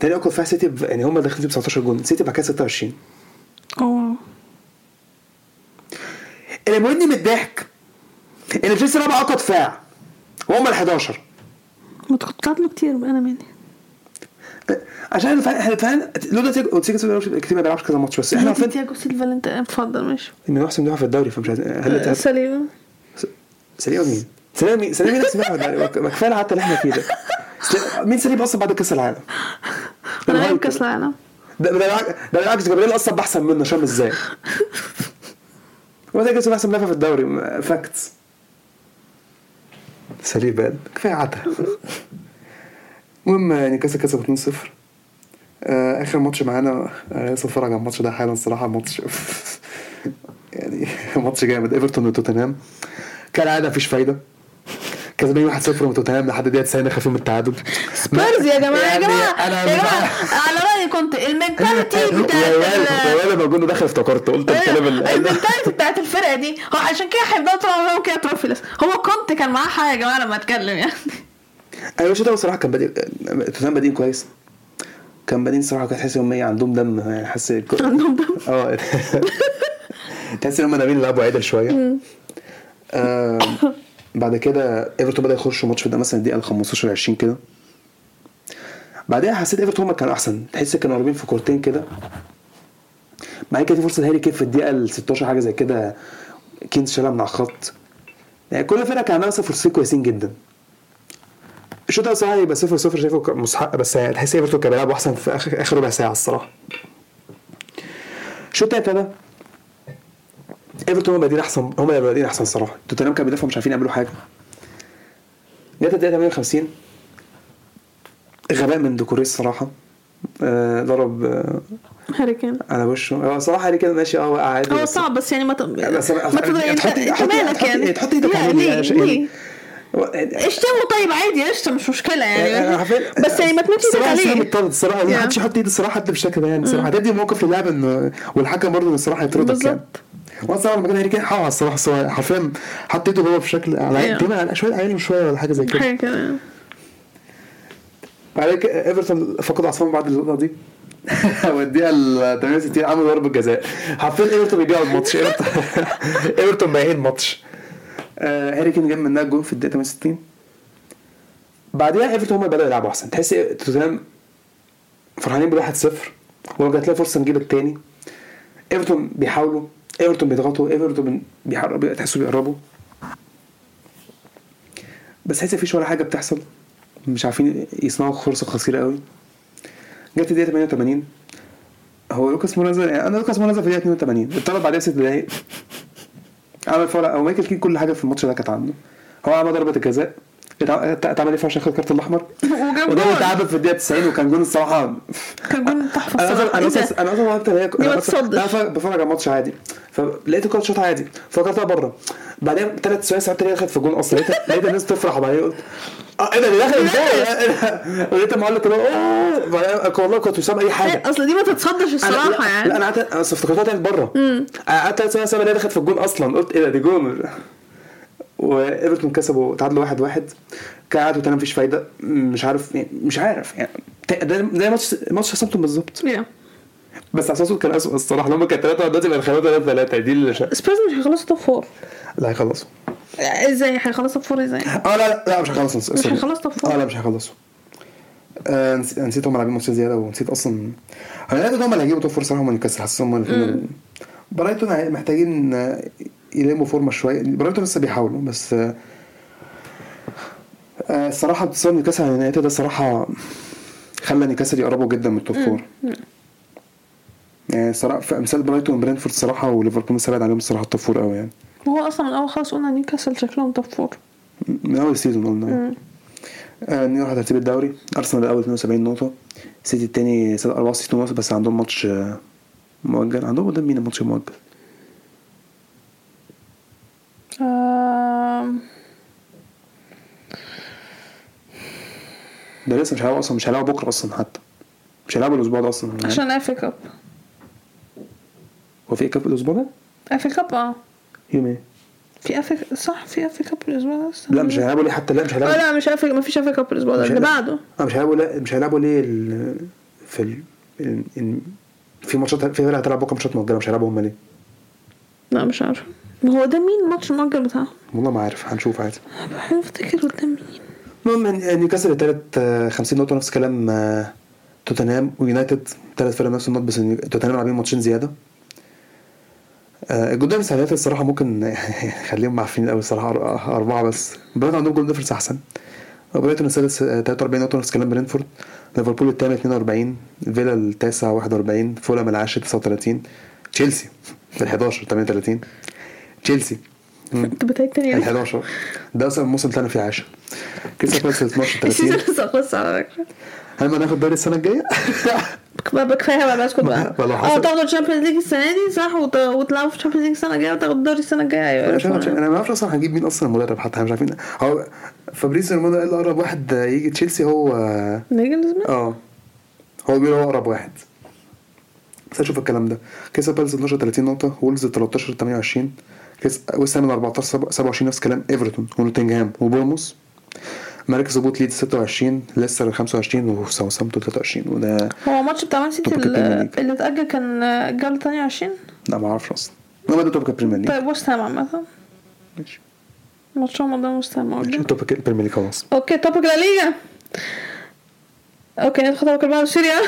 [SPEAKER 2] تاني اقوى دفاع سيتي ب- يعني هم داخلين ب 19 جون سيتي بعد كده 26
[SPEAKER 1] اه
[SPEAKER 2] اللي بيودني من الضحك ان تشيلسي رابع اقوى دفاع وهم ال 11
[SPEAKER 1] ما كنت بتعرف له كتير بقى انا مالي
[SPEAKER 2] عشان احنا فعلا احنا فعلا لولا تيجو تيجو كتير ما بيلعبش كذا ماتش بس احنا عارفين
[SPEAKER 1] تياجو سيلفا اللي انت اتفضل ماشي
[SPEAKER 2] ان احسن مدافع في الدوري فمش عايز هل
[SPEAKER 1] سليم
[SPEAKER 2] سليم مين؟ سليم مين؟ سليم مين احسن مدافع في الدوري ما كفايه العته اللي احنا فيه ده سليم- مين سليم اصلا بعد كاس العالم؟
[SPEAKER 1] انا
[SPEAKER 2] الهايب
[SPEAKER 1] لعيب
[SPEAKER 2] كده.
[SPEAKER 1] كاس العالم
[SPEAKER 2] ده ده بالعكس- ده بالعكس جبريل اصلا بحسن منه شام ازاي وده جسم احسن مدافع في الدوري فاكتس سليب بقى كفايه عتا المهم يعني كاسه كسب 2-0 آه، اخر ماتش معانا آه، لسه اتفرج على الماتش ده حالا الصراحه ماتش يعني ماتش جامد ايفرتون وتوتنهام كالعاده مفيش فايده كسبانين 1-0 من توتنهام لحد دقيقه 90 خافين من التعادل
[SPEAKER 1] سبيرز يا جماعه يا
[SPEAKER 2] يعني
[SPEAKER 1] جماعه
[SPEAKER 2] أنا
[SPEAKER 1] يا
[SPEAKER 2] مش
[SPEAKER 1] جماعه
[SPEAKER 2] عارف.
[SPEAKER 1] على رايي كنت المنتاليتي بتاعت ال-
[SPEAKER 2] وانا بقول له داخل افتكرته قلت الكلام أيوه،
[SPEAKER 1] ايوه
[SPEAKER 2] اللي
[SPEAKER 1] المنتاليتي بتاعت الفرقه دي هو عشان كده هيفضلوا طول عمرهم كده تروفيلس هو كنت كان معاه حاجه يا جماعه لما اتكلم يعني
[SPEAKER 2] انا مش ده بصراحه أيوه، كان بادئ توتنهام بادئين كويس كان بادئين صراحه كنت تحس ان هم ايه عندهم دم يعني حاسس
[SPEAKER 1] عندهم دم.
[SPEAKER 2] اه تحس ان هم ناويين يلعبوا عدل شويه آم، بعد كده ايفرتون بدا يخش الماتش في الدقيقة مثلا الدقيقه 15 20 كده بعدها حسيت ايفرتون هم كانوا احسن تحس كانوا قريبين في كورتين كده بعد كده في فرصه هاري كين في الدقيقه ال 16 حاجه زي كده كين شالها من على الخط يعني كل فرقه كان عندها مثلا فرصتين كويسين جدا الشوط الاول صراحه يبقى 0 0 شايفه ك- مستحق بس يعني تحس ايفرتون كان بيلعبوا احسن في اخر اخر ربع ساعه الصراحه الشوط الثاني ابتدى ايفرتون هم بادئين احسن هم اللي بادئين احسن صراحه توتنهام كانوا بيدافعوا مش عارفين يعملوا حاجه جت الدقيقه 58 غباء من دوكوريس صراحه آه، ضرب آه،
[SPEAKER 1] هاري كين
[SPEAKER 2] على وشه هو صراحه علي كده ماشي اه وقع عادي
[SPEAKER 1] هو
[SPEAKER 2] بس-
[SPEAKER 1] صعب بس يعني ما ت... ما
[SPEAKER 2] بس أنا-
[SPEAKER 1] تضايق- انت انت
[SPEAKER 2] تحطي- تحطي-
[SPEAKER 1] مالك
[SPEAKER 2] تحطي-
[SPEAKER 1] يعني
[SPEAKER 2] تحطي ايدك
[SPEAKER 1] لا،
[SPEAKER 2] على اليمين يعني
[SPEAKER 1] ليه؟
[SPEAKER 2] شيء-
[SPEAKER 1] ليه؟
[SPEAKER 2] هو-
[SPEAKER 1] اشتمه طيب عادي اشتم مش مشكله يعني
[SPEAKER 2] عارفين-
[SPEAKER 1] بس يعني ما تمدش ايدك
[SPEAKER 2] الصراحة الصراحة
[SPEAKER 1] عليه
[SPEAKER 2] بتطرد الصراحة ما
[SPEAKER 1] Yeah. Mm.
[SPEAKER 2] حدش يحط ايد الصراحة حد بالشكل ده يعني الصراحة هتدي موقف للاعب ان والحكم برضه الصراحة يطردك يعني
[SPEAKER 1] بالظبط.
[SPEAKER 2] وانا الصراحة لما كان هاري كين حقه الصراحة بس هو حرفيا حط ايده هو بشكل على
[SPEAKER 1] Yeah.
[SPEAKER 2] تقريبا على شوية اقل من شوية ولا حاجة زي كده
[SPEAKER 1] حاجه كده يعني.
[SPEAKER 2] بعد كده ايفرتون فقد اعصابهم بعد اللقطه دي والدقيقه ال 68 عملوا ضربه جزاء حرفيا ايفرتون بيبيعوا الماتش ايفرتون ايفرتون بايعين الماتش آه، هاري كين جاب منها جول في الدقيقه 68 بعدها ايفرتون هم بداوا يلعبوا احسن تحس توتنهام فرحانين بال 1-0 ولو جات لها فرصه نجيب الثاني ايفرتون بيحاولوا ايفرتون بيضغطوا ايفرتون بيحرقوا تحسوا بيقربوا بس تحس مفيش ولا حاجه بتحصل مش عارفين يصنعوا فرصه خطيره قوي جت الدقيقه 88 هو لوكاس مورازا يعني انا لوكاس مورازا في الدقيقه 82 اتطرد بعدها ست دقايق عمل فاول او مايكل كين كل حاجه في الماتش ده كانت عنده هو عمل ضربه الجزاء اتع- ات- اتعمل ايه فيها عشان خد الكارت الاحمر
[SPEAKER 1] وجاب
[SPEAKER 2] وده
[SPEAKER 1] جول.
[SPEAKER 2] اتعب في الدقيقه 90 وكان جون الصراحه
[SPEAKER 1] كان جون تحفه
[SPEAKER 2] انا
[SPEAKER 1] الصراحة.
[SPEAKER 2] اصلا
[SPEAKER 1] إيه
[SPEAKER 2] انا
[SPEAKER 1] ده؟
[SPEAKER 2] اصلا انا اصلا وقت هي
[SPEAKER 1] ما
[SPEAKER 2] انا أصلاً- أنا
[SPEAKER 1] تصدقش.
[SPEAKER 2] ف- بتفرج على ماتش عادي فلقيت الكره شوط عادي فكرتها بره بعدين ثلاث ثواني ساعات تانية دخلت في الجون اصلا لقيت لقيت الناس تفرح وبعدين قلت اه ايه ده ده دخل ازاي؟ لقيت إيه المعلق كده اوه بعدين ك- والله كنت سامع اي حاجه
[SPEAKER 1] لا، اصل إيه، دي ما تتصدش
[SPEAKER 2] أنا- لا-
[SPEAKER 1] الصراحه
[SPEAKER 2] لا
[SPEAKER 1] يعني
[SPEAKER 2] انا قعدت انا أصل افتكرتها كانت بره انا قعدت ثلاث ثواني سامع دخلت في الجون اصلا قلت ايه ده دي جون وايفرتون كسبوا تعادلوا واحد واحد كان قعدوا تاني مفيش فايده مش عارف يعني مش عارف يعني ده ده ماتش ماتش ساوثهامبتون بالظبط
[SPEAKER 1] يا.
[SPEAKER 2] بس اساسه كان اسوء الصراحه لما كان ثلاثه دلوقتي بقى خمسه ثلاثه ثلاثه دي اللي شا...
[SPEAKER 1] سبيرز مش هيخلصوا توب فور
[SPEAKER 2] لا هيخلصوا
[SPEAKER 1] ازاي هيخلصوا توب فور ازاي
[SPEAKER 2] اه لا لا, لا مش هيخلصوا مش
[SPEAKER 1] هيخلصوا طب
[SPEAKER 2] اه لا مش هيخلصوا آه نس- نسيت هم لاعبين ماتشين زياده ونسيت اصلا انا لقيت ان هم اللي هيجيبوا توب فرصه هم اللي كسر حاسس هم اللي برايتون هي- محتاجين آه، يلموا فورمه شويه برايتون لسه بيحاولوا بس آه، آه، الصراحه انتصار نيوكاسل على النهائي ده الصراحه خلى نيوكاسل يقربوا جدا من التوب فور يعني صراحه في امثال برايتون وبرينفورد الصراحه وليفربول لسه بعد عليهم الصراحه التوب فور قوي يعني
[SPEAKER 1] ما هو اصلا من الاول خالص قلنا نيوكاسل شكلهم توب فور
[SPEAKER 2] من اول السيزون قلنا آه، نروح على ترتيب الدوري ارسنال الاول 72 نقطه سيتي الثاني 64 نقطه بس عندهم ماتش آه، مؤجل عندهم قدام مين الماتش المؤجل
[SPEAKER 1] آم،
[SPEAKER 2] ده لسه مش هيلعبوا اصلا مش هيلعبوا بكره اصلا حتى مش هيلعبوا الاسبوع ده اصلا
[SPEAKER 1] عشان افي كاب
[SPEAKER 2] هو في إيه كاب الاسبوع ده
[SPEAKER 1] افي كاب اه
[SPEAKER 2] يوم ايه
[SPEAKER 1] في افي صح في افي كاب الاسبوع ده استنى.
[SPEAKER 2] لا مش هيلعبوا ليه حتى لا مش
[SPEAKER 1] اه
[SPEAKER 2] هيلعبوا
[SPEAKER 1] لا مش افي مفيش افي كاب الاسبوع ده
[SPEAKER 2] مش
[SPEAKER 1] اللي
[SPEAKER 2] هيلعب-
[SPEAKER 1] بعده
[SPEAKER 2] اه مش هيلعبوا لا مش هيلعبوا ليه ال... في ال... ال... ال... في ماتشات في فرقه هتلعب بكره ماتشات مؤجله مش هيلعبوا هم ليه
[SPEAKER 1] لا مش عارفه ما هو ده مين الماتش المؤجل بتاعه؟
[SPEAKER 2] والله ما عارف هنشوف عادي
[SPEAKER 1] بحاول افتكر قدام مين
[SPEAKER 2] المهم إن- نيوكاسل التالت آه، 50 نقطة نفس كلام آه، توتنهام ويونايتد تلات فرق نفس النقط بس إن توتنهام لاعبين ماتشين زيادة آه، الجول ديفرنس على اليونايتد الصراحة ممكن خليهم معفنين قوي الصراحة أر- آه، أربعة بس برايتون عندهم جول ديفرنس أحسن برايتون السادس آه، 43 نقطة نفس كلام برينفورد ليفربول الثامن 42 فيلا التاسع 41 فولهام العاشر 39 تشيلسي ال 11 38 تشيلسي
[SPEAKER 1] انت بتعيد تاني
[SPEAKER 2] ال
[SPEAKER 1] ليه؟
[SPEAKER 2] 11 يعني ده اصلا الموسم اللي انا فيه 10 كسب بس 12
[SPEAKER 1] السيزون
[SPEAKER 2] 30
[SPEAKER 1] لسه خلص على فكره
[SPEAKER 2] هل ما ناخد دوري السنه الجايه؟
[SPEAKER 1] بقى بقى كفايه بقى بسكت بقى
[SPEAKER 2] ما لو
[SPEAKER 1] اه
[SPEAKER 2] حصل-
[SPEAKER 1] تاخدوا الشامبيونز ليج السنه دي صح وت- وتلعبوا في الشامبيونز ليج السنه الجايه وتاخدوا الدوري السنه الجايه
[SPEAKER 2] انا
[SPEAKER 1] ايوه
[SPEAKER 2] مش عارف
[SPEAKER 1] عرفنا.
[SPEAKER 2] انا ما اعرفش اصلا هنجيب مين اصلا المدرب حتى احنا مش عارفين هو فابريزو رومانو قال اقرب واحد يجي تشيلسي هو
[SPEAKER 1] نيجي لازم
[SPEAKER 2] اه هو بيقول هو اقرب واحد بس اشوف الكلام ده كسب بيرز 12 30 نقطه وولز 13 28 كاس ويست هام 14 سبعة- 27 نفس الكلام ايفرتون ونوتنجهام وبورموس مركز هبوط ليد 26 ليستر 25 وساوثهامبتون 23 وده
[SPEAKER 1] هو ماتش بتاع مان سيتي
[SPEAKER 2] طب
[SPEAKER 1] ال-
[SPEAKER 2] كابتن ليج.
[SPEAKER 1] اللي اتأجل كان الجولة التانية عشرين
[SPEAKER 2] لا ما اعرفش اصلا هو ده توبك البريمير ليج
[SPEAKER 1] طيب وست هام عامة
[SPEAKER 2] ماشي
[SPEAKER 1] ماتشهم قدام وست هام أوكي.
[SPEAKER 2] ماشي توبك البريمير ليج خلاص
[SPEAKER 1] اوكي توبيك لا ليجا اوكي ندخل توبيك بعد سوريا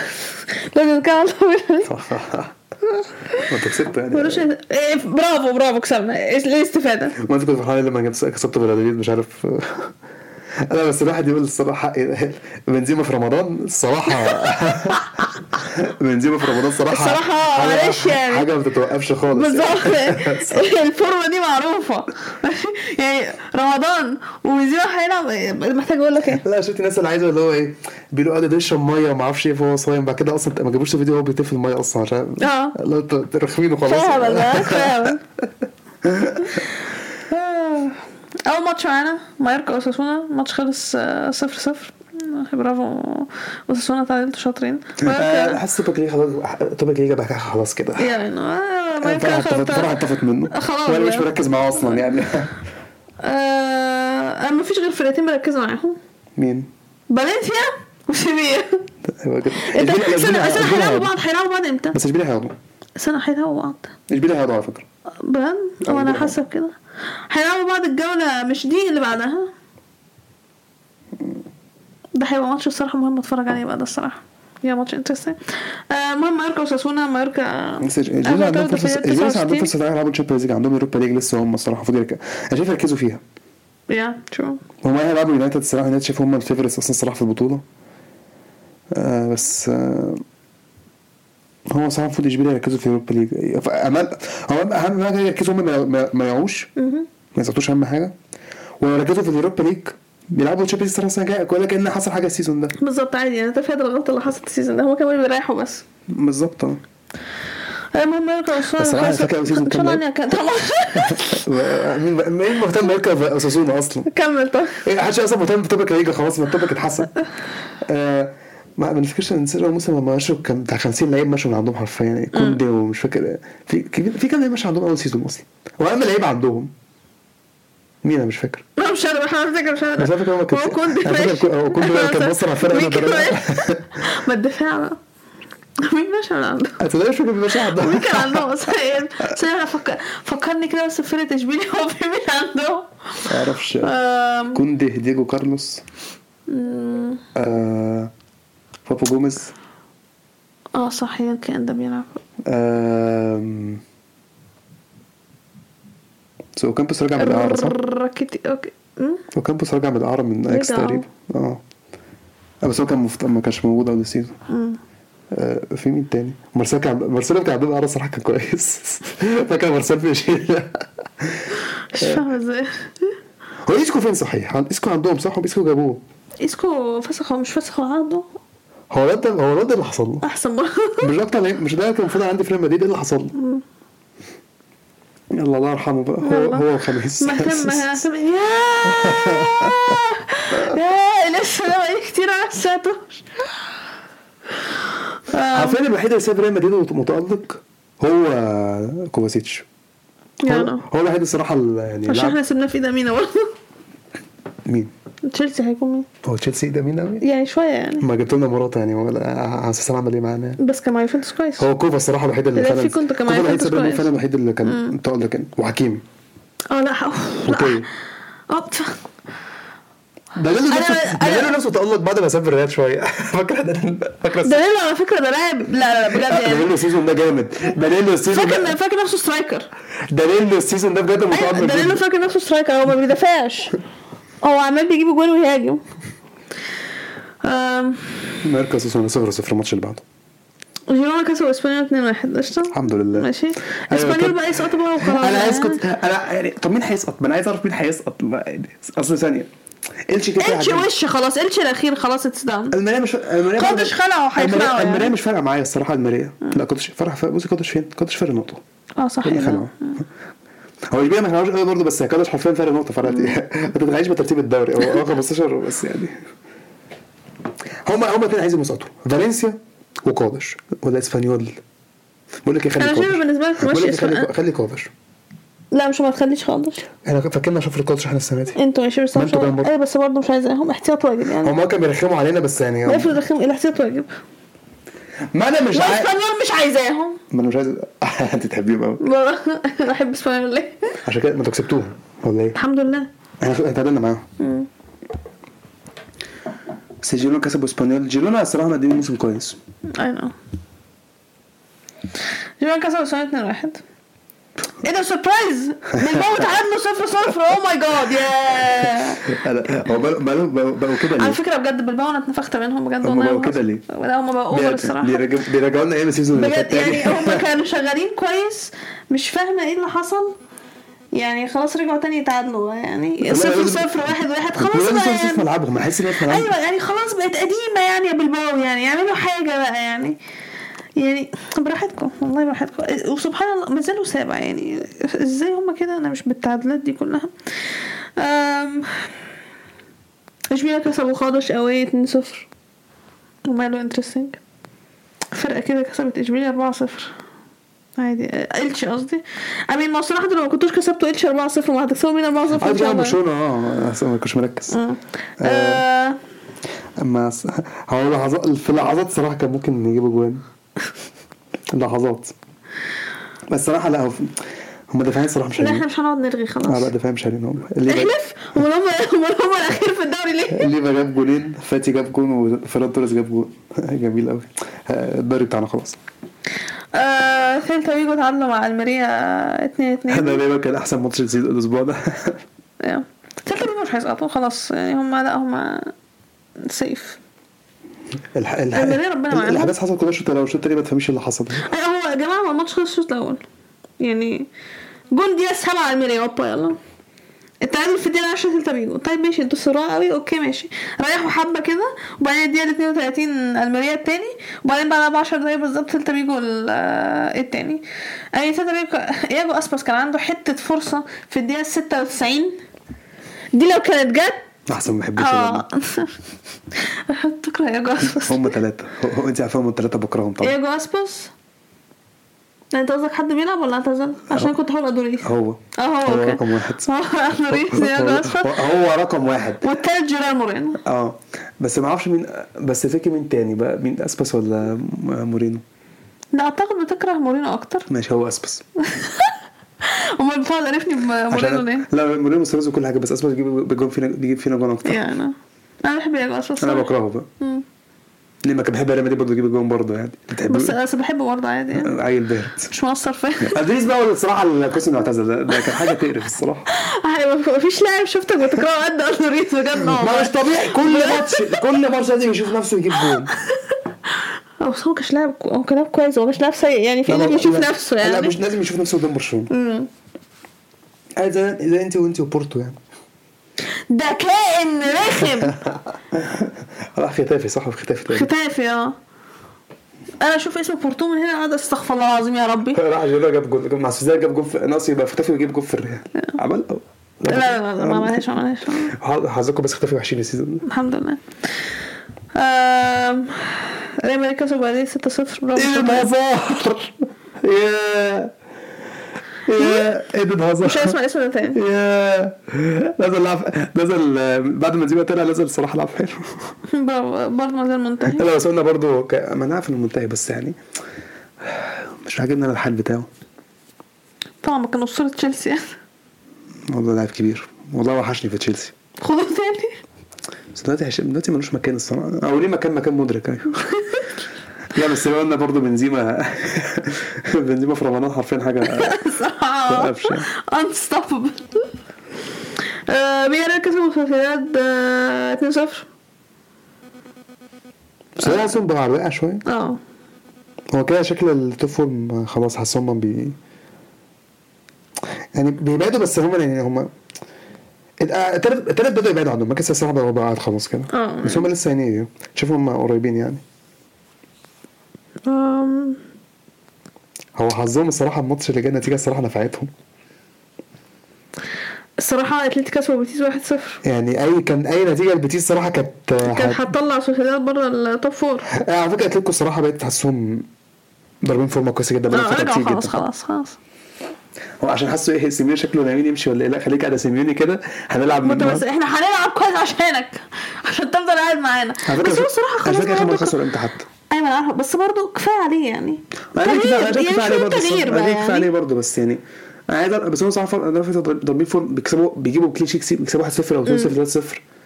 [SPEAKER 1] لازم نتكلم عن توبيك لا ليجا.
[SPEAKER 2] ما انت كسبت يعني
[SPEAKER 1] ملوش إيه، برافو برافو كسبنا إيه ليه استفادة
[SPEAKER 2] ما انت كنت فرحان لما جبت- كسبت بلاديد مش عارف انا بس الواحد يقول الصراحه بنزيما في رمضان الصراحه بنزيما في رمضان الصراحه
[SPEAKER 1] الصراحة
[SPEAKER 2] حاجة-
[SPEAKER 1] معلش يعني.
[SPEAKER 2] حاجة ما بتتوقفش خالص
[SPEAKER 1] بالظبط
[SPEAKER 2] يعني.
[SPEAKER 1] الفورمة دي معروفة يعني رمضان وبنزيما هيلعب محتاج اقول لك ايه
[SPEAKER 2] لا شفت الناس اللي عايزه اللي هو ايه بيقولوا قاعد يشرب ميه وما اعرفش ايه فهو صايم بعد كده اصلا ما جابوش الفيديو وهو بيتف الميه اصلا عشان
[SPEAKER 1] اه.
[SPEAKER 2] لا انت رخمين وخلاص
[SPEAKER 1] فاهم ولا فاهم اول ماتش معانا مايوركا اوساسونا ماتش خلص آه، صفر صفر آه، برافو اوساسونا تعادلتوا شاطرين
[SPEAKER 2] آه،
[SPEAKER 1] مايوركا
[SPEAKER 2] حاسس توبك ليج خلاص توبك ليج بقى خلاص كده
[SPEAKER 1] يعني
[SPEAKER 2] eh,
[SPEAKER 1] آه، مايوركا
[SPEAKER 2] فرحة فرحة
[SPEAKER 1] خلاص
[SPEAKER 2] اتفت منه
[SPEAKER 1] خلاص
[SPEAKER 2] وانا مش
[SPEAKER 1] بقى.
[SPEAKER 2] مركز معاه اصلا يعني
[SPEAKER 1] آه، انا مفيش غير فرقتين مركزوا معاهم
[SPEAKER 2] مين؟
[SPEAKER 1] فالنسيا وسيفيا
[SPEAKER 2] ايوه كده
[SPEAKER 1] انت
[SPEAKER 2] اشبيليا-
[SPEAKER 1] إيه، استنى استنى
[SPEAKER 2] اشبيليا-
[SPEAKER 1] هيلعبوا
[SPEAKER 2] اشبيليا هيقعدوا.
[SPEAKER 1] بعض هيلعبوا بعض امتى؟
[SPEAKER 2] بس اشبيليا هياخدوا
[SPEAKER 1] استنى هيلعبوا بعض
[SPEAKER 2] اشبيليا هياخدوا على فكره
[SPEAKER 1] بجد؟ وانا
[SPEAKER 2] هيلعبوا.
[SPEAKER 1] حاسه بكده هيلعبوا بعض الجوله مش دي اللي بعدها ده هيبقى ماتش الصراحه مهم اتفرج عليه بقى ده الصراحه يا ماتش انترستنج المهم مايوركا وساسونا مايوركا
[SPEAKER 2] بس إش- اشبيليا عندهم فرصه اشبيليا لسه
[SPEAKER 1] 69.
[SPEAKER 2] عندهم فرصه يلعبوا تشامبيونز ليج عندهم اوروبا ليج لسه هم الصراحه المفروض يرك- انا شايف يركزوا فيها
[SPEAKER 1] يا ترو
[SPEAKER 2] هم هيلعبوا يونايتد الصراحه يونايتد شايف هم الفيفورتس اصلا الصراحه في البطوله آه بس آه هو صراحه المفروض اشبيليه يركزوا في اوروبا ليج امل هو اهم حاجه يركزوا هم ما- ما- ما يعوش ما يسقطوش اهم حاجه ولو ركزوا في اليوروبا ليج بيلعبوا تشامبيونز السنه السنه الجايه ولا كان حصل حاجه السيزون ده
[SPEAKER 1] بالظبط عادي يعني تفادى الغلطه اللي حصلت السيزون ده هما كانوا بيريحوا بس
[SPEAKER 2] بالظبط اه
[SPEAKER 1] المهم يرجع الشهر
[SPEAKER 2] بس صراحة فاكر أول سيزون
[SPEAKER 1] ان شاء
[SPEAKER 2] كان
[SPEAKER 1] الله يعني
[SPEAKER 2] لعب.
[SPEAKER 1] إني أكمل. طبعا
[SPEAKER 2] مين بقى- مين مهتم يركب اساسونا اصلا
[SPEAKER 1] كمل طب
[SPEAKER 2] إيه، محدش اصلا مهتم بالتوبيك هيجي خلاص ما التوبيك اتحسن آه، ما ما نفتكرش ان سير موسم لما مشوا كان بتاع 50 لعيب مشوا من عندهم حرفيا يعني كوندي ومش فاكر إيه. في كبير- في كام لعيب مشوا عندهم اول سيزون اصلا واهم لعيب عندهم مين انا مش فاكر
[SPEAKER 1] لا مش قادر انا فاكر مش قادر
[SPEAKER 2] بس على فكرة هو كان-
[SPEAKER 1] كنت
[SPEAKER 2] على فكرة
[SPEAKER 1] ماشي.
[SPEAKER 2] هو كنت بقى كان بص على فرقة
[SPEAKER 1] مين كان
[SPEAKER 2] بدرجة.
[SPEAKER 1] ماشي؟ ما الدفاع بقى مين ماشي على عنده
[SPEAKER 2] هتلاقي مش فاكر مين مشى
[SPEAKER 1] مين
[SPEAKER 2] عندهم
[SPEAKER 1] كان عندهم اصلا إيه؟ بس انا فكر فكرني كده بس بفرقه اشبيليه هو في مين عندهم
[SPEAKER 2] ما اعرفش
[SPEAKER 1] آه. آم،
[SPEAKER 2] كوندي ديجو كارلوس
[SPEAKER 1] مم،
[SPEAKER 2] آه، بابو جوميز
[SPEAKER 1] اه صح يمكن ده بيلعب
[SPEAKER 2] آم، سو كامبوس رجع من الاعاره صح؟
[SPEAKER 1] راكيتي اوكي مم؟
[SPEAKER 2] سو كامبوس رجع من الاعاره من اكس
[SPEAKER 1] رجع، آه.
[SPEAKER 2] تقريبا اه آه، بس هو كان مفت... ما كانش موجود اول سيزون
[SPEAKER 1] مم.
[SPEAKER 2] آه، في مين تاني؟ مارسيل كان مارسيل كان عندهم اعاره صراحه كان كويس فاكر مارسيل في شيء
[SPEAKER 1] مش فاهمه ازاي
[SPEAKER 2] هو ايسكو فين صحيح؟ عن- ايسكو عندهم صح؟ هم ايسكو جابوه
[SPEAKER 1] اسكو فسخ ولا مش فسخ هو عنده
[SPEAKER 2] هو ده هو ده اللي حصل له
[SPEAKER 1] احسن برضه
[SPEAKER 2] مش ده كان مش ده كان المفروض عندي في ريال مدريد ايه اللي حصل له؟ يلا الله يرحمه بقى هو
[SPEAKER 1] يلا.
[SPEAKER 2] هو وخميس
[SPEAKER 1] مهتم مهتم يا يا لسه انا بقالي كتير على آه، الساتوش
[SPEAKER 2] عارفين الوحيد اللي ساب ريال مدريد متألق هو كوفاسيتش هو,
[SPEAKER 1] يلا
[SPEAKER 2] هو الوحيد الصراحه اللي يعني
[SPEAKER 1] عشان
[SPEAKER 2] لعب
[SPEAKER 1] احنا سيبنا في ايد امينه برضه
[SPEAKER 2] مين؟
[SPEAKER 1] تشيلسي هيكون مين؟
[SPEAKER 2] هو تشيلسي ده مين قوي؟
[SPEAKER 1] يعني شويه يعني
[SPEAKER 2] ما جبت لنا مراته يعني ولا على اساس عمل ايه معانا
[SPEAKER 1] بس كان مع يوفنتوس كويس
[SPEAKER 2] هو كوفا الصراحه الوحيد اللي
[SPEAKER 1] لا،
[SPEAKER 2] فعلا
[SPEAKER 1] في كنت كمان
[SPEAKER 2] كوفا الوحيد
[SPEAKER 1] فانتس
[SPEAKER 2] ساب ريال مدريد
[SPEAKER 1] كويس.
[SPEAKER 2] فعلا الوحيد اللي كان متألق يعني وحكيمي
[SPEAKER 1] اه لا أوف،
[SPEAKER 2] اوكي
[SPEAKER 1] لا أوه، تف-
[SPEAKER 2] دانيلو
[SPEAKER 1] أنا-
[SPEAKER 2] نفسه
[SPEAKER 1] أنا-
[SPEAKER 2] دانيلو نفسه تألق بعد ما ساب الريال شويه فاكر دانيلو- فاكر الس-
[SPEAKER 1] دانيلو على فكره ده لاعب لا لا بجد يعني
[SPEAKER 2] دانيلو السيزون ده جامد دانيلو السيزون
[SPEAKER 1] فاكر
[SPEAKER 2] ده
[SPEAKER 1] فاكر نفسه سترايكر
[SPEAKER 2] دانيلو السيزون ده بجد
[SPEAKER 1] أيوة،
[SPEAKER 2] متألق
[SPEAKER 1] دانيلو
[SPEAKER 2] جداً.
[SPEAKER 1] فاكر نفسه سترايكر هو ما بيدافعش هو عمال بيجيب جوان ويهاجم أم،
[SPEAKER 2] ماركوس اسمه 0 0 الماتش اللي بعده
[SPEAKER 1] جيرونا كسبوا اسبانيول 2-1 قشطه
[SPEAKER 2] الحمد لله
[SPEAKER 1] ماشي
[SPEAKER 2] أيوة،
[SPEAKER 1] اسبانيول
[SPEAKER 2] طب-
[SPEAKER 1] بقى يسقطوا بقى وخلاص
[SPEAKER 2] انا عايز كنت انا يعني طب مين هيسقط؟ ما انا عايز اعرف مين هيسقط ما- يعني اصل ثانيه الشي كده كده
[SPEAKER 1] التش
[SPEAKER 2] عجبني.
[SPEAKER 1] وش خلاص التش الاخير خلاص اتس داون
[SPEAKER 2] المرايه مش المرايه
[SPEAKER 1] كنتش خلعه
[SPEAKER 2] المراية-
[SPEAKER 1] هيخلعه
[SPEAKER 2] المرايه
[SPEAKER 1] يعني. آه.
[SPEAKER 2] مش فارقه معايا الصراحه المرايه لا كنتش فرح فرق- بصي كنتش فين؟ كنتش فارق نقطه
[SPEAKER 1] اه صح
[SPEAKER 2] كنتش
[SPEAKER 1] إيه ده.
[SPEAKER 2] خلعه
[SPEAKER 1] آه.
[SPEAKER 2] هو اشبيليه ما خلعوش قوي برضه بس كنتش حرفيا فارق نقطه فرقت ايه ما تتغيرش بترتيب الدوري هو هو 15 بس يعني هما هما الاثنين عايزين يسقطوا فالنسيا وقادش ولا اسبانيول بقول لك ايه خلي
[SPEAKER 1] انا شايفه
[SPEAKER 2] قادش
[SPEAKER 1] بالنسبه لك
[SPEAKER 2] بقول لك إيه،
[SPEAKER 1] ماشي
[SPEAKER 2] خلي
[SPEAKER 1] اسبانيول
[SPEAKER 2] خلي قادش
[SPEAKER 1] لا مش ما تخليش خالص
[SPEAKER 2] احنا فاكرنا شفر القادش احنا السنه دي
[SPEAKER 1] انتوا ماشي بس
[SPEAKER 2] ما أنتوا كمان برضه.
[SPEAKER 1] ايه بس برضه مش عايزاهم احتياط واجب يعني
[SPEAKER 2] هما كانوا بيرخموا علينا بس يعني
[SPEAKER 1] ما افرض رخم الاحتياط واجب
[SPEAKER 2] ما انا مش عايز
[SPEAKER 1] واسبانيول مش عايزاهم
[SPEAKER 2] ما انا مش عايز انت تحبيهم قوي
[SPEAKER 1] انا احب اسبانيول ليه
[SPEAKER 2] عشان كده ما انتوا كسبتوهم ولا ايه؟
[SPEAKER 1] الحمد لله
[SPEAKER 2] احنا اتعادلنا معاهم
[SPEAKER 1] مم.
[SPEAKER 2] بس جيرونا كسبوا اسبانيول جيرونا الصراحه مقدمين موسم كويس
[SPEAKER 1] اي نو جيران كسب اسبانيا 2 1 ايه ده سربرايز بنموت عنه 0 0 او ماي جاد يا
[SPEAKER 2] لا هو بقوا- بقوا بقوا كده
[SPEAKER 1] على
[SPEAKER 2] ليه؟
[SPEAKER 1] فكره بجد بالباو انا اتنفخت منهم بجد
[SPEAKER 2] هما
[SPEAKER 1] والله
[SPEAKER 2] بقوا كده ليه؟
[SPEAKER 1] لا هم بقوا اوفر
[SPEAKER 2] بيرج-
[SPEAKER 1] الصراحه
[SPEAKER 2] بيرجعوا- بيرجعوا لنا ايام السيزون اللي
[SPEAKER 1] بجد
[SPEAKER 2] فات تاني.
[SPEAKER 1] يعني هم كانوا شغالين كويس مش فاهمه ايه اللي حصل يعني خلاص رجعوا تاني يتعادلوا بقى يعني
[SPEAKER 2] والله
[SPEAKER 1] 0
[SPEAKER 2] لازم-
[SPEAKER 1] 0 1 1 خلاص
[SPEAKER 2] بيقولوا
[SPEAKER 1] بقى
[SPEAKER 2] لازم في
[SPEAKER 1] يعني
[SPEAKER 2] ملعبهم احس ان هي في ملعبهم
[SPEAKER 1] ايوه يعني خلاص بقت قديمه يعني يا بالباو يعني اعملوا حاجه بقى يعني يعني براحتكم والله براحتكم وسبحان الله ما زالوا سابع يعني ازاي هما كده انا مش بالتعادلات دي كلها أم... اشبيليه كسبوا خادش اوي 2 0 وماله انترستنج فرقه كده كسبت اشبيليه 4 0 عادي التش قصدي امين ما هو صراحه لو ما كنتوش كسبتوا التش 4 0 ما هتكسبوا مين 4 0
[SPEAKER 2] اه دي عم برشلونه اه أصل ما كنتش مركز
[SPEAKER 1] آه.
[SPEAKER 2] اما س- هو لحظات في لحظات صراحه كان ممكن يجيبوا جوان لحظات بس صراحه لا هو في- هم دفاعين صراحه مش
[SPEAKER 1] لا احنا
[SPEAKER 2] حلوين
[SPEAKER 1] مش هنقعد نرغي
[SPEAKER 2] اه
[SPEAKER 1] خلاص
[SPEAKER 2] لا دفاعين مش حلوين هم اللي
[SPEAKER 1] احلف امال هم امال هم الاخير في الدوري ليه؟
[SPEAKER 2] ليفا جاب جولين فاتي جاب جون وفيران توريس جاب جون جميل قوي الدوري بتاعنا خلاص
[SPEAKER 1] آه سيلتا فيجو تعادلوا مع الماريا 2 2
[SPEAKER 2] انا ليفا كان احسن ماتش السيزون- الاسبوع ده
[SPEAKER 1] سيلتا فيجو مش هيسقطوا خلاص يعني هم لا هم سيف
[SPEAKER 2] الح... الح...
[SPEAKER 1] المرايه ربنا معاهم.
[SPEAKER 2] الاحداث حصلت كلها الشوط الاول الشوط التاني ما تفهميش اللي حصل
[SPEAKER 1] أي هو يا جماعه هو الماتش خلص الشوط الاول يعني جون دي اسحب على الميري اوبا يلا التعادل في الدقيقه 10 تلتا بيجو طيب ماشي انتوا سرعة قوي اوكي ماشي ريحوا حبه كده وبعدين الدقيقه 32 الميريا التاني وبعدين بعدها ب 10 دقايق بالظبط تلتا بيجو ال- آه، التاني اي تلتا بيجو ياجو اسباس كان عنده حته فرصه في الدقيقه 96 دي لو كانت جت
[SPEAKER 2] احسن ما بحبش
[SPEAKER 1] اه بكره ياجو اسباس
[SPEAKER 2] هم ثلاثه انت عارفه هم ثلاثه بكرههم طبعا
[SPEAKER 1] ياجو اسباس انت يعني قصدك حد بيلعب ولا اعتزل؟ عشان كنت هقول ادوريس
[SPEAKER 2] هو
[SPEAKER 1] اه هو
[SPEAKER 2] هو
[SPEAKER 1] اوكي
[SPEAKER 2] رقم واحد
[SPEAKER 1] هو ادوريس ياجو اسباس
[SPEAKER 2] هو- هو رقم واحد
[SPEAKER 1] والتالت جيرار مورينو
[SPEAKER 2] اه بس ما اعرفش مين بس فاكر مين تاني بقى مين اسبس ولا م- مورينو
[SPEAKER 1] لا اعتقد بتكره مورينو اكتر
[SPEAKER 2] ماشي هو اسبس
[SPEAKER 1] امال بتقعد قرفني بمورينو ليه؟
[SPEAKER 2] لا مورينو سيريز وكل حاجه بس اسبس بيجيب بيجيب فينا بيجيب فينا جون اكتر
[SPEAKER 1] يعني انا انا بحب إيه، ياجو اسباس
[SPEAKER 2] انا
[SPEAKER 1] صراحة.
[SPEAKER 2] بكرهه بقى
[SPEAKER 1] مم.
[SPEAKER 2] ليه ما كان بحب ريال مدريد برضه يجيب جون برضه يعني بتحب
[SPEAKER 1] بس بس بحبه برضه عادي يعني
[SPEAKER 2] عيل بارد
[SPEAKER 1] مش مقصر فيا
[SPEAKER 2] ادريس بقى الصراحه القسم اللي اعتزل ده- ده كان حاجه تقرف الصراحه
[SPEAKER 1] هيبقى أيوة، مفيش لاعب شفتك بتكرهه قد ادوريس بجد
[SPEAKER 2] ما مش
[SPEAKER 1] والله.
[SPEAKER 2] طبيعي كل ماتش كل ماتش لازم يشوف نفسه يجيب جون
[SPEAKER 1] هو بس هو كانش لاعب كو- هو كان لاعب كويس هو مش لاعب سيء يعني في
[SPEAKER 2] لا،
[SPEAKER 1] لازم
[SPEAKER 2] لا،
[SPEAKER 1] يشوف
[SPEAKER 2] لا.
[SPEAKER 1] نفسه
[SPEAKER 2] لا
[SPEAKER 1] يعني
[SPEAKER 2] مش لازم يشوف نفسه قدام برشلونه
[SPEAKER 1] مم.
[SPEAKER 2] عايز زي زي انت وانت وبورتو يعني
[SPEAKER 1] ده كائن رخم
[SPEAKER 2] راح ختافي صح في ختافي تاني
[SPEAKER 1] ختافي اه انا اشوف اسم بورتو من هنا اقعد استغفر الله العظيم يا ربي
[SPEAKER 2] راح جيرو جاب جول مع سوزان جاب جول في ناقص يبقى ختافي ويجيب جول في الريال عمل
[SPEAKER 1] لا لا لا لا، ما عملهاش ما عملهاش
[SPEAKER 2] حظكم بس ختافي وحشين السيزون ده
[SPEAKER 1] الحمد لله آم، ريال مدريد كسبوا باريس 6-0 برافو
[SPEAKER 2] ايدن
[SPEAKER 1] شاطر.
[SPEAKER 2] هازار يا يا ايدن هازار
[SPEAKER 1] مش هسمع الاسم ده تاني
[SPEAKER 2] يا نزل لعب نزل آه، بعد ما زيبا طلع نزل صراحه لعب حلو
[SPEAKER 1] برافو برضه ما زال منتهي
[SPEAKER 2] انا وصلنا برضو ك... ما انا عارف انه منتهي بس يعني مش عاجبني انا الحال بتاعه
[SPEAKER 1] طبعا ما كان اسطوره تشيلسي يعني
[SPEAKER 2] والله لاعب كبير والله وحشني في تشيلسي
[SPEAKER 1] خدوه تاني
[SPEAKER 2] بس دلوقتي هش... دلوقتي ملوش مكان الصراحه او ليه مكان مكان مدرك ايوه لا بس لو قلنا برضه بنزيما بنزيما في رمضان حرفيا حاجه توقفش.
[SPEAKER 1] انستوببل بيريال آه، كسبوا سوسيداد آه، 2-0
[SPEAKER 2] بس انا حاسسهم بقى واقع شويه
[SPEAKER 1] اه
[SPEAKER 2] هو كده شكل التوب فورم خلاص حاسسهم بي يعني بيبعدوا بس هم يعني هم التلات التلات بدأوا يبعدوا عنهم ما كانش الصراحة بقى بعد خلاص كده
[SPEAKER 1] آه.
[SPEAKER 2] بس هم لسه يعني شوف هم قريبين يعني
[SPEAKER 1] آم،
[SPEAKER 2] هو حظهم الصراحة الماتش اللي جاي النتيجة الصراحة نفعتهم
[SPEAKER 1] الصراحه اتلتيكو كسبوا بيتيس 1-0
[SPEAKER 2] يعني أي كان أي نتيجة البيتيس الصراحة كانت
[SPEAKER 1] كانت هتطلع سوسيداد بره التوب فور
[SPEAKER 2] آه، على فكرة أتلتيكو الصراحة بقيت حاسسهم ضاربين فورمة كويسة جدا بقالهم
[SPEAKER 1] اه
[SPEAKER 2] فترة
[SPEAKER 1] رجعوا
[SPEAKER 2] كتير
[SPEAKER 1] خلاص
[SPEAKER 2] جدا.
[SPEAKER 1] خلاص خلاص
[SPEAKER 2] هو عشان حاسه إيه سيميوني شكله ناويين يمشي ولا إيه لا خليك قاعد يا سيميوني كده هنلعب
[SPEAKER 1] ما انت
[SPEAKER 2] النهاردة.
[SPEAKER 1] بس احنا هنلعب كويس عشانك عشان تفضل قاعد معانا
[SPEAKER 2] على فكرة
[SPEAKER 1] بس هو الصراحه
[SPEAKER 2] على
[SPEAKER 1] خلاص
[SPEAKER 2] فكرة آخر مرة
[SPEAKER 1] برضه-
[SPEAKER 2] خسر إمتى حتى
[SPEAKER 1] ايوه انا عارفه بس برضه كفايه عليه يعني
[SPEAKER 2] عليك
[SPEAKER 1] تغيير
[SPEAKER 2] كفايه
[SPEAKER 1] يعني
[SPEAKER 2] عليك كفايه عليه
[SPEAKER 1] شوية
[SPEAKER 2] برضه
[SPEAKER 1] تغيير بقى
[SPEAKER 2] عليك كفايه عليه
[SPEAKER 1] يعني
[SPEAKER 2] برضه بس يعني انا عايز أ- بس هو صراحه فرق- انا فاكر ضاربين فورم بيكسبوا بيجيبوا كلين شيك سي- بيكسبوا 1-0 او 2-0 3-0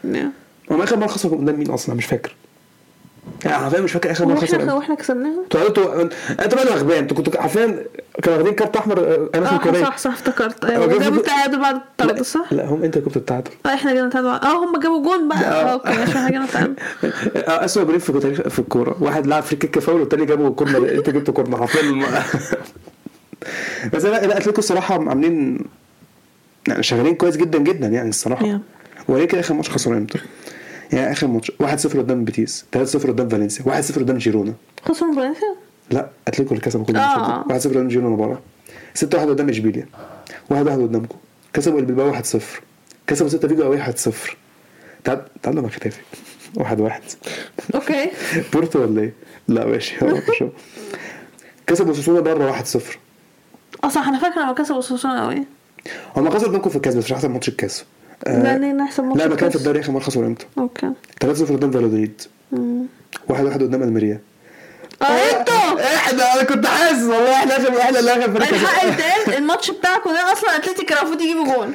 [SPEAKER 1] نعم.
[SPEAKER 2] هم اخر مره خسروا قدام مين اصلا مش فاكر يعني حرفيا مش فاكر اخر مره
[SPEAKER 1] واحنا
[SPEAKER 2] خسروا
[SPEAKER 1] واحنا كسبناهم
[SPEAKER 2] انتوا قعدتوا انت بقى غلبان انتوا كنتوا حرفيا كانوا واخدين كارت احمر انا في
[SPEAKER 1] اه
[SPEAKER 2] الكوريه
[SPEAKER 1] صح صح افتكرت
[SPEAKER 2] هو
[SPEAKER 1] ايوه
[SPEAKER 2] جاب
[SPEAKER 1] جابوا
[SPEAKER 2] جول-
[SPEAKER 1] التعادل بعد الطرد صح؟
[SPEAKER 2] لا هم انت كنت بتتعادل
[SPEAKER 1] اه احنا جبنا التعادل بعد- اه هم جابوا جون بقى
[SPEAKER 2] اه.
[SPEAKER 1] اه اوكي ماشي احنا جبنا التعادل
[SPEAKER 2] آه، اسوء بريف في تاريخ في الكوره واحد لعب فري كيك فاول والتاني جابه كورنر انت جبت كورنر حرفيا الم- بس لا لا اتلتيكو الصراحه عاملين يعني شغالين كويس جدا جدا يعني الصراحه
[SPEAKER 1] Yeah.
[SPEAKER 2] ولكن اخر ماتش خسروا امتى؟ يعني اخر ماتش 1-0 قدام بيتيس 3-0 قدام فالنسيا 1-0 قدام جيرونا
[SPEAKER 1] خسروا من فالنسيا
[SPEAKER 2] لا اتلتيكو اللي كسبوا كل
[SPEAKER 1] آه.
[SPEAKER 2] الماتشات 1-0 قدام جيرونا بره 6-1 قدام اشبيليا 1-1 قدامكم كسبوا البلباو 1-0 كسبوا 6 فيجو 1-0 تعال تعالوا مع ختافي 1-1
[SPEAKER 1] اوكي
[SPEAKER 2] بورتو ولا ايه؟ لا ماشي هو شوف كسبوا سوسونا بره 1-0
[SPEAKER 1] اه صح انا فاكره لما كسبوا سوسونا قوي
[SPEAKER 2] هما خسروا منكم في الكاس بس مش هحسب ماتش الكاس آه،
[SPEAKER 1] لا ليه نحسب ماتش
[SPEAKER 2] لا ما كان في
[SPEAKER 1] الكاس؟
[SPEAKER 2] الدوري اخر مره خسروا امتى؟
[SPEAKER 1] اوكي
[SPEAKER 2] 3-0 قدام فالودريد 1-1 قدام الميريا
[SPEAKER 1] اه انتوا
[SPEAKER 2] احنا انا كنت حاسس والله احنا اخر احنا اللي اخر فريق
[SPEAKER 1] الحق يتقال إيه؟ الماتش بتاعكم ده اصلا اتلتيك كان المفروض يجيبوا جون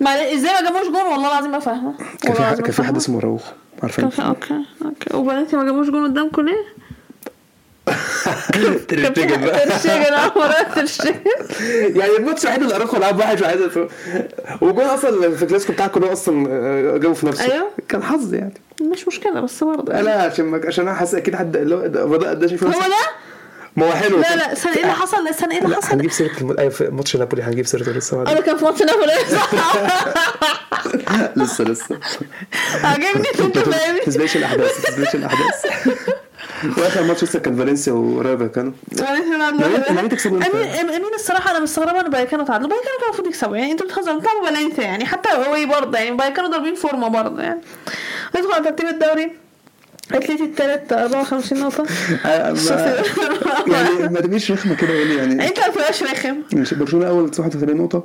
[SPEAKER 1] ما ازاي ما جابوش جون والله العظيم ما فاهمه
[SPEAKER 2] كان
[SPEAKER 1] والله
[SPEAKER 2] في
[SPEAKER 1] العظيم
[SPEAKER 2] حد-
[SPEAKER 1] ما
[SPEAKER 2] كان في
[SPEAKER 1] فاهمة.
[SPEAKER 2] حد اسمه راوخ
[SPEAKER 1] كان
[SPEAKER 2] عارفين
[SPEAKER 1] في- اوكي اوكي وبناتي ما جابوش جون قدامكم ليه؟
[SPEAKER 2] ترشجن بقى
[SPEAKER 1] ترشجن اه مرات ترشجن
[SPEAKER 2] يعني الماتش الوحيد اللي اراخو لعب واحد واحد وجون اصلا في الكلاسيكو بتاعكم ده اصلا آه، جابه في نفسه
[SPEAKER 1] أيوه.
[SPEAKER 2] كان حظ يعني
[SPEAKER 1] مش مشكله بس برضه
[SPEAKER 2] لا عشان ما- عشان انا حاسس اكيد حد اللي هو ده- هو ده ده شايف
[SPEAKER 1] هو
[SPEAKER 2] نفسه.
[SPEAKER 1] ده
[SPEAKER 2] ما هو حلو
[SPEAKER 1] لا لا السنه ايه اللي حصل السنه ايه اللي
[SPEAKER 2] لا
[SPEAKER 1] حصل
[SPEAKER 2] هنجيب سيره الم... أيوة، في ماتش نابولي هنجيب سيرته لسه بعدين.
[SPEAKER 1] انا كان في ماتش نابولي
[SPEAKER 2] لسه لسه
[SPEAKER 1] عجبني انت فاهمني
[SPEAKER 2] ما تسبقش الاحداث ما تسبقش الاحداث واخر ماتش لسه كان فالنسيا ورايو فايكانو يعني
[SPEAKER 1] امين
[SPEAKER 2] أنت تكسبوا أنت.
[SPEAKER 1] امين الصراحه انا مستغربه ان بايكانو تعادلوا بايكانو كان المفروض يكسبوا يعني انتوا بتهزروا بتلعبوا بالانت يعني حتى هو برضه يعني بايكانو ضاربين فورمه برضه يعني ندخل على ترتيب الدوري اتليتي التالت 54 نقطة
[SPEAKER 2] آه، ما- يعني ما تبقيش رخمه كده قولي يعني
[SPEAKER 1] انت ما تبقاش رخم
[SPEAKER 2] ماشي برشلونه اول 81 نقطه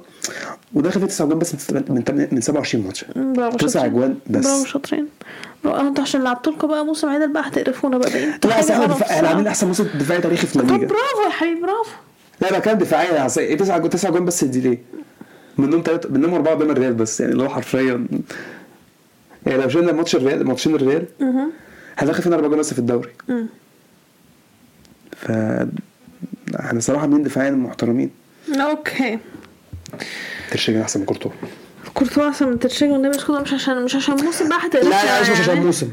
[SPEAKER 2] وده خدت 9 جوان بس من تمن- من تمن- من 27 ماتش
[SPEAKER 1] برافو
[SPEAKER 2] تسع
[SPEAKER 1] شاطرين.
[SPEAKER 2] أجوان بس.
[SPEAKER 1] برافو شاطرين لا، انتوا عشان لعبتوا لكم بقى موسم عدل بقى هتقرفونا بقى ده انتوا
[SPEAKER 2] طلع
[SPEAKER 1] حاجة
[SPEAKER 2] احسن احنا
[SPEAKER 1] قرف
[SPEAKER 2] دفاع- احنا عاملين
[SPEAKER 1] صراحة.
[SPEAKER 2] احسن موسم دفاعي تاريخي في
[SPEAKER 1] طب
[SPEAKER 2] الليجا
[SPEAKER 1] برافو يا حبيبي برافو
[SPEAKER 2] لا لا كان دفاعيا يا عصي 9 جوان 9 جوان بس دي ليه منهم ثلاثه منهم اربعه قدام الريال بس يعني اللي هو حرفيا يعني لو شلنا ماتش الريال ماتشين الريال
[SPEAKER 1] مهم.
[SPEAKER 2] هناخد فينا اربع جوان بس في الدوري
[SPEAKER 1] مم.
[SPEAKER 2] ف احنا صراحه من دفاعيا محترمين
[SPEAKER 1] اوكي
[SPEAKER 2] ترشيجن احسن من كورتوا
[SPEAKER 1] كورتوا احسن من ترشيج والنبي مش مش عشان مش عشان موسم بقى
[SPEAKER 2] لا
[SPEAKER 1] هتقرفنا
[SPEAKER 2] لا مش مش عشان
[SPEAKER 1] يعني.
[SPEAKER 2] موسم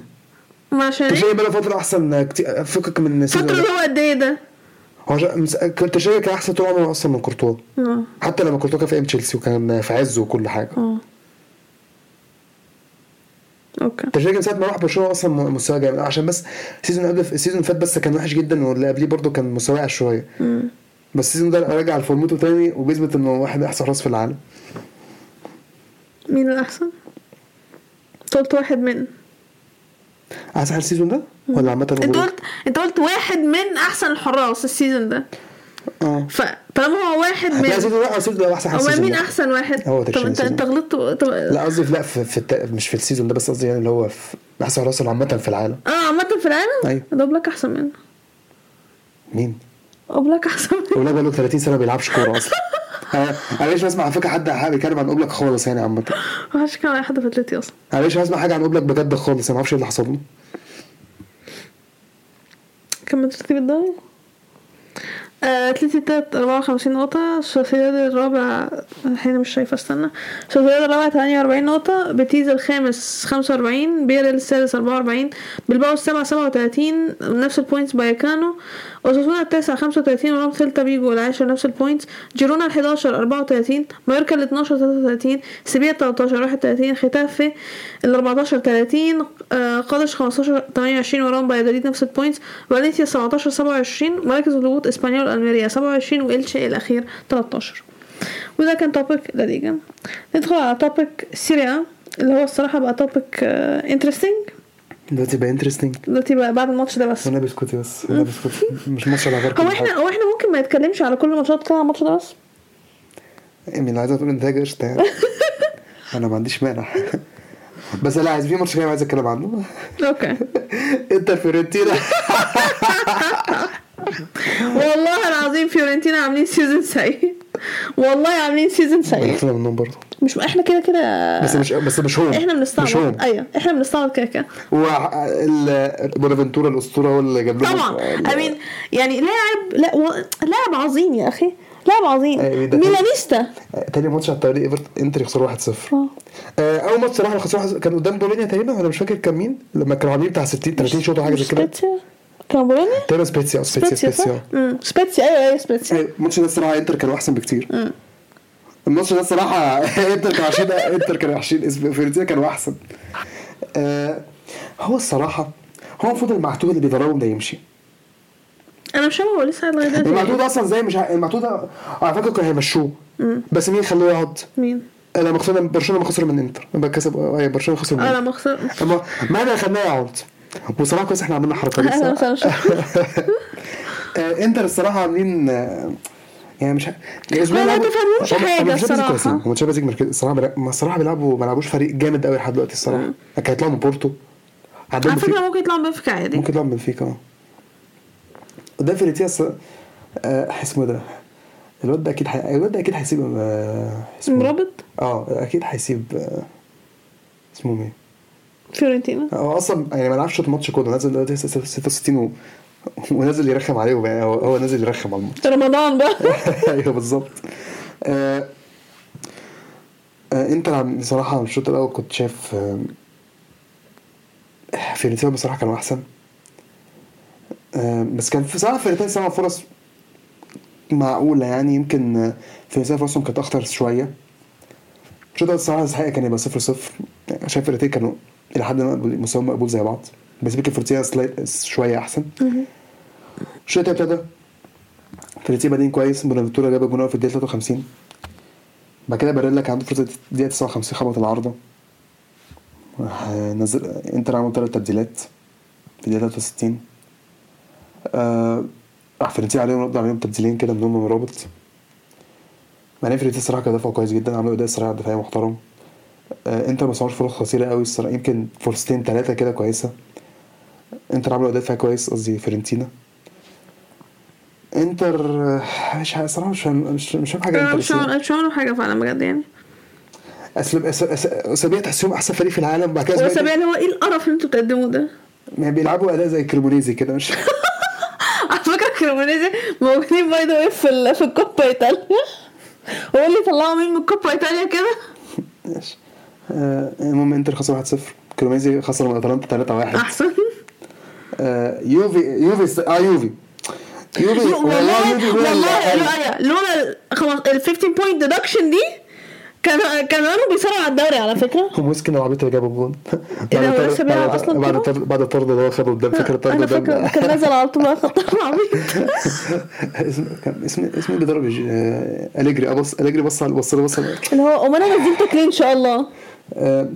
[SPEAKER 1] ما عشان ايه؟
[SPEAKER 2] ترشيجن بقى فتره احسن كتير فكك من السيزون
[SPEAKER 1] فترة
[SPEAKER 2] ده.
[SPEAKER 1] اللي هو قد ايه ده؟
[SPEAKER 2] هو جا- مس- كان ترشيجن كان احسن طول عمره اصلا من كورتوا
[SPEAKER 1] آه.
[SPEAKER 2] حتى لما كورتوا كان في ام تشيلسي وكان في عزه وكل حاجه
[SPEAKER 1] اه اوكي
[SPEAKER 2] ترشيجن ساعه ما راح برشلونه اصلا م- مستواه جامد عشان بس السيزون قبل السيزون اللي فات بس كان وحش جدا واللي قبليه برضه كان مستواه وقع شويه
[SPEAKER 1] مم.
[SPEAKER 2] بس السيزون ده رجع لفورمته تاني وبيثبت انه واحد من احسن حراس في العالم
[SPEAKER 1] مين الاحسن؟ أنت قلت واحد من
[SPEAKER 2] احسن حارس السيزون ده ولا عامه
[SPEAKER 1] انت
[SPEAKER 2] الغرور؟
[SPEAKER 1] قلت انت قلت واحد من احسن الحراس السيزون ده
[SPEAKER 2] اه
[SPEAKER 1] فطالما هو واحد من
[SPEAKER 2] لا السيزون ده أو السيزون ده هو احسن حارس
[SPEAKER 1] هو
[SPEAKER 2] السيزون
[SPEAKER 1] مين
[SPEAKER 2] ده.
[SPEAKER 1] احسن واحد؟
[SPEAKER 2] هو
[SPEAKER 1] طب
[SPEAKER 2] ترشيح
[SPEAKER 1] انت انت
[SPEAKER 2] السيزون.
[SPEAKER 1] غلطت طب
[SPEAKER 2] لا قصدي في لا في, في الت... مش في السيزون ده بس قصدي يعني اللي هو في احسن حراس عامه في العالم
[SPEAKER 1] اه عامة في العالم
[SPEAKER 2] أيوة.
[SPEAKER 1] ده بلاك احسن منه
[SPEAKER 2] مين؟
[SPEAKER 1] اوبلاك احسن منه
[SPEAKER 2] اولاك بقاله 30 سنه ما بيلعبش كوره اصلا انا انا مش بسمع على فكره حد حد بيتكلم عن اوبلاك خالص يعني عامه
[SPEAKER 1] محدش كان على حد في اتلتي اصلا
[SPEAKER 2] انا مش بسمع حاجه عن اوبلاك بجد خالص انا ما اعرفش ايه اللي حصل له
[SPEAKER 1] كمل ترتيب الدوري آه، اتلتي التالت 54 نقطة سوسيداد الرابع الحين مش شايفة استنى سوسيداد الرابع 48 نقطة بيتيز الخامس 45 بيرل السادس 44 بلباو السابع 37 نفس البوينتس بايكانو اوساسونا التاسع 35 ورام سيلتا فيجو العاشر نفس البوينتس جيرونا ال11 34 مايوركا ال12 33 سيبيا 13 31 ختافي ال14 30 آه، قادش 15 28 وراهم بايدوليد نفس البوينتس فالنسيا 17 27 مراكز الهبوط اسبانيول الميريا 27 والشي الاخير 13 وده كان توبيك لليجا ندخل على توبيك سيريا اللي هو الصراحه بقى توبيك انترستينج
[SPEAKER 2] دلوقتي بقى انترستنج
[SPEAKER 1] دلوقتي بقى بعد الماتش ده بس
[SPEAKER 2] انا بسكوتي بس انا بسكوتي مش ماتش على غير
[SPEAKER 1] هو احنا هو احنا ممكن ما نتكلمش على كل الماتشات كده على الماتش ده بس
[SPEAKER 2] مين عايزه تقول انتاج قشطه يعني انا ما عنديش مانع بس لا عايز في ماتش جاي عايز اتكلم عنه
[SPEAKER 1] اوكي
[SPEAKER 2] انت فيورنتينا
[SPEAKER 1] والله العظيم فيورنتينا عاملين سيزون سيء والله عاملين سيزون سيء
[SPEAKER 2] طلع منهم برضه
[SPEAKER 1] مش احنا كده كده
[SPEAKER 2] بس مش بس مش هو
[SPEAKER 1] احنا
[SPEAKER 2] مش هو
[SPEAKER 1] بنستعبط ايوه احنا بنستعبط كده كده
[SPEAKER 2] وبونافنتورا الاسطوره هو اللي جاب لهم
[SPEAKER 1] طبعا امين يعني لاعب لا و... لاعب عظيم يا اخي لاعب عظيم
[SPEAKER 2] أيوة، ده-
[SPEAKER 1] ميلانيستا
[SPEAKER 2] تاني ماتش على التوالي ايفرتون انتر يخسروا 1-0
[SPEAKER 1] آه.
[SPEAKER 2] آه، اول ماتش صراحه خسروا 1-0 كان قدام بولونيا تقريبا انا مش فاكر كان مين لما كانوا عاملين بتاع 60 30 شوط ولا حاجه زي كده
[SPEAKER 1] سبيتسيا كان بولونيا
[SPEAKER 2] تقريبا سبيتسيا أو سبيتسيا
[SPEAKER 1] سبيتسيا صح؟
[SPEAKER 2] سبيتسيا
[SPEAKER 1] مم، سبيتسيا ايوه ايوه سبيتسيا
[SPEAKER 2] أيوة، الماتش ده الصراحه انتر كانوا احسن بكتير الماتش ده الصراحه انتر كانوا وحشين انتر كانوا وحشين إسب- فيورنتينا كانوا احسن آه، هو الصراحه هو المفروض المعتوه اللي بيضربهم ده يمشي
[SPEAKER 1] انا مش فاهمه هو لسه قاعد لغايه
[SPEAKER 2] المعتوه
[SPEAKER 1] دلوقتي
[SPEAKER 2] ده اصلا زي مش ع- المعتوه ده على فكره كانوا هيمشوه بس مين خلوه يقعد
[SPEAKER 1] مين؟
[SPEAKER 2] لما خسرنا برشلونه لما خسر من انتر لما كسب أيوة، برشلونه خسر من
[SPEAKER 1] اه
[SPEAKER 2] انتر
[SPEAKER 1] لا ما خسر
[SPEAKER 2] اما ماذا خلاه يقعد وصراحه كويس احنا عملنا حركه دي
[SPEAKER 1] اهلا
[SPEAKER 2] الصراحة.
[SPEAKER 1] وسهلا شكرا
[SPEAKER 2] آه، انتر الصراحه عاملين آه، يعني مش الاسبوع
[SPEAKER 1] ما تفهموش حاجة الصراحة.
[SPEAKER 2] هم تشابي مركز الصراحه بلا- ما الصراحه بيلعبوا ما لعبوش فريق جامد قوي لحد دلوقتي الصراحه كانوا يطلعوا من بورتو عندهم
[SPEAKER 1] على فكره
[SPEAKER 2] بنفيكا.
[SPEAKER 1] ممكن يطلع بنفيكا عادي
[SPEAKER 2] ممكن يطلعوا من بنفيكا اه قدام فيرتيا الص- آه، اسمه ده الواد ده اكيد حي... الواد ده اكيد هيسيب آه، اسمه-
[SPEAKER 1] مرابط
[SPEAKER 2] اه اكيد هيسيب آه، اسمه مين
[SPEAKER 1] فيورنتينا
[SPEAKER 2] هو اصلا يعني ما لعبش ماتش كوره نزل دلوقتي 66 و ونازل يرخم عليهم يعني هو هو نازل يرخم على الماتش
[SPEAKER 1] رمضان بقى
[SPEAKER 2] ايوه بالظبط آه آه انت عم- بصراحه الشوط الاول كنت شايف آه فيرنتينا بصراحه كانوا احسن آه بس كان في صراحه فيرنتينا سبع فرص معقوله يعني يمكن آه، فيرنتينا فرصهم كانت اخطر شويه الشوط الاول الصراحه الحقيقه كان يبقى 0 0 شايف الفرقتين كانوا الى حد ما مقبول- مستواهم مقبول زي بعض بس يمكن فيرنتينا سلاي- شويه احسن الشوط التاني ابتدى فيرنتينا بادئين كويس بونافنتورا جاب جون أول في الدقيقه 53 بعد كده باريلا كان عنده فرصه الدقيقه 59 خبط العارضه راح نزل انتر عمل ثلاث تبديلات في الدقيقه 63 آه، راح فيرنتينا عليهم رد عليهم تبديلين كده من هم من رابط بعدين فيرنتينا الصراحه كان دفعوا كويس جدا عملوا اداء صراع دفاعي محترم آه، انتر ما صنعوش فرص خطيره قوي الصراحه يمكن فرصتين ثلاثه كده كويسه انتر عملوا اداء دفاعي كويس قصدي فيرنتينا انتر آه، مش عارف- صراحه مش فاهم مش مش فاهم حاجه انتر
[SPEAKER 1] مش
[SPEAKER 2] الصراحة.
[SPEAKER 1] عمل- مش عملوا حاجه فعلا بجد يعني
[SPEAKER 2] اسلوب أس- أس- اسابيع تحسهم احسن فريق في العالم بعد كده
[SPEAKER 1] وسابيع اللي هو ايه القرف اللي انتوا بتقدموه ده
[SPEAKER 2] ما بيلعبوا اداء زي كريمونيزي كده مش
[SPEAKER 1] على فكره كريمونيزي موجودين باي ذا في ال- في الكوبا ايطاليا هو اللي طلعوا مين من الكوبا ايطاليا كده
[SPEAKER 2] ماشي. آه، المهم انتر خسر 1-0 كريمونيزي خسر من اتلانتا 3-1
[SPEAKER 1] احسن
[SPEAKER 2] آه، يوفي يوفي اه يوفي يوفي والله
[SPEAKER 1] والله
[SPEAKER 2] يوفي هو اللي
[SPEAKER 1] والله إيه؟
[SPEAKER 2] قال.
[SPEAKER 1] لولا- لولا ال خمس- ال 15 بوينت ديدكشن دي كانوا كانوا بيصارعوا على الدوري على فكره
[SPEAKER 2] هو مسكين العبيط اللي جاب الجون
[SPEAKER 1] إيه ده، هو
[SPEAKER 2] بعد
[SPEAKER 1] لسه
[SPEAKER 2] طرد-
[SPEAKER 1] بيلعب أصلاً
[SPEAKER 2] بعد
[SPEAKER 1] كده؟
[SPEAKER 2] طرد- بعد الطرد اللي هو خده قدام فاكر الطرد
[SPEAKER 1] انا فاكره
[SPEAKER 2] قدام
[SPEAKER 1] كان نازل على طول على خط العبيط
[SPEAKER 2] اسم كان اسم اسم اللي ضرب الج- آه، اليجري اه بص اليجري بص على بص له بص له
[SPEAKER 1] اللي هو امال انا نزلتك ليه ان شاء الله
[SPEAKER 2] آه،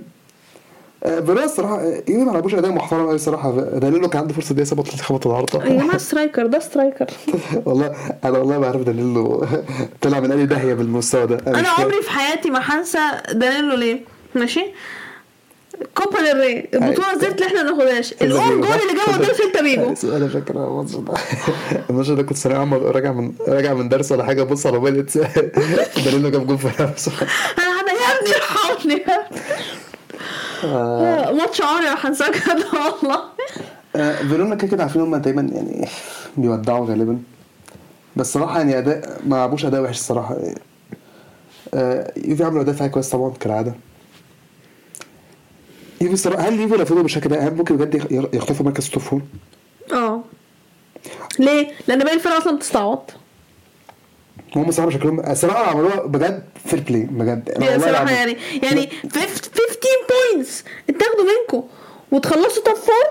[SPEAKER 2] آه، فيرا الصراحه آه، يوفي ما لعبوش اداء محترم قوي الصراحه دانيلو كان عنده فرصه دي سبت خبط
[SPEAKER 1] يا
[SPEAKER 2] العارضه
[SPEAKER 1] جماعه سترايكر ده سترايكر
[SPEAKER 2] والله انا والله ما عارف دانيلو طلع من اي داهيه بالمستوى ده
[SPEAKER 1] انا
[SPEAKER 2] مش فاهم.
[SPEAKER 1] عمري في حياتي ما هنسى دانيلو ليه ماشي كوبا ديل ري البطوله الزفت اللي احنا ما ناخدهاش الاون جول اللي جابه قدام سيلتا فيجو
[SPEAKER 2] انا فاكر الماتش ده الماتش ده كنت ثانوي عام راجع من راجع من درس ولا حاجه بص على موبايل دانيلو جاب جول في نفسه
[SPEAKER 1] انا حدا يا ابني ارحمني يا ابني. آه، ماتش عمري ما هنساه كده والله
[SPEAKER 2] آه، فيرونا كده كده عارفين هم دايما يعني بيودعوا غالبا بس صراحه يعني اداء ما لعبوش اداء وحش الصراحه آه، يوفي عملوا اداء فيها كويس طبعا كالعاده يوفي الصراحه هل يوفي لو فضلوا بالشكل ده هل ممكن بجد يخ- يخطفوا مركز توب فور؟
[SPEAKER 1] اه ليه؟ لان باقي الفرقه اصلا بتستعوض
[SPEAKER 2] هم صراحه شكلهم الصراحه عملوها بجد فير بلاي بجد أنا
[SPEAKER 1] يعني
[SPEAKER 2] آه، والله
[SPEAKER 1] صراحه
[SPEAKER 2] العظيم.
[SPEAKER 1] يعني يعني 15 بوينتس تاخدوا منكم وتخلصوا توب فور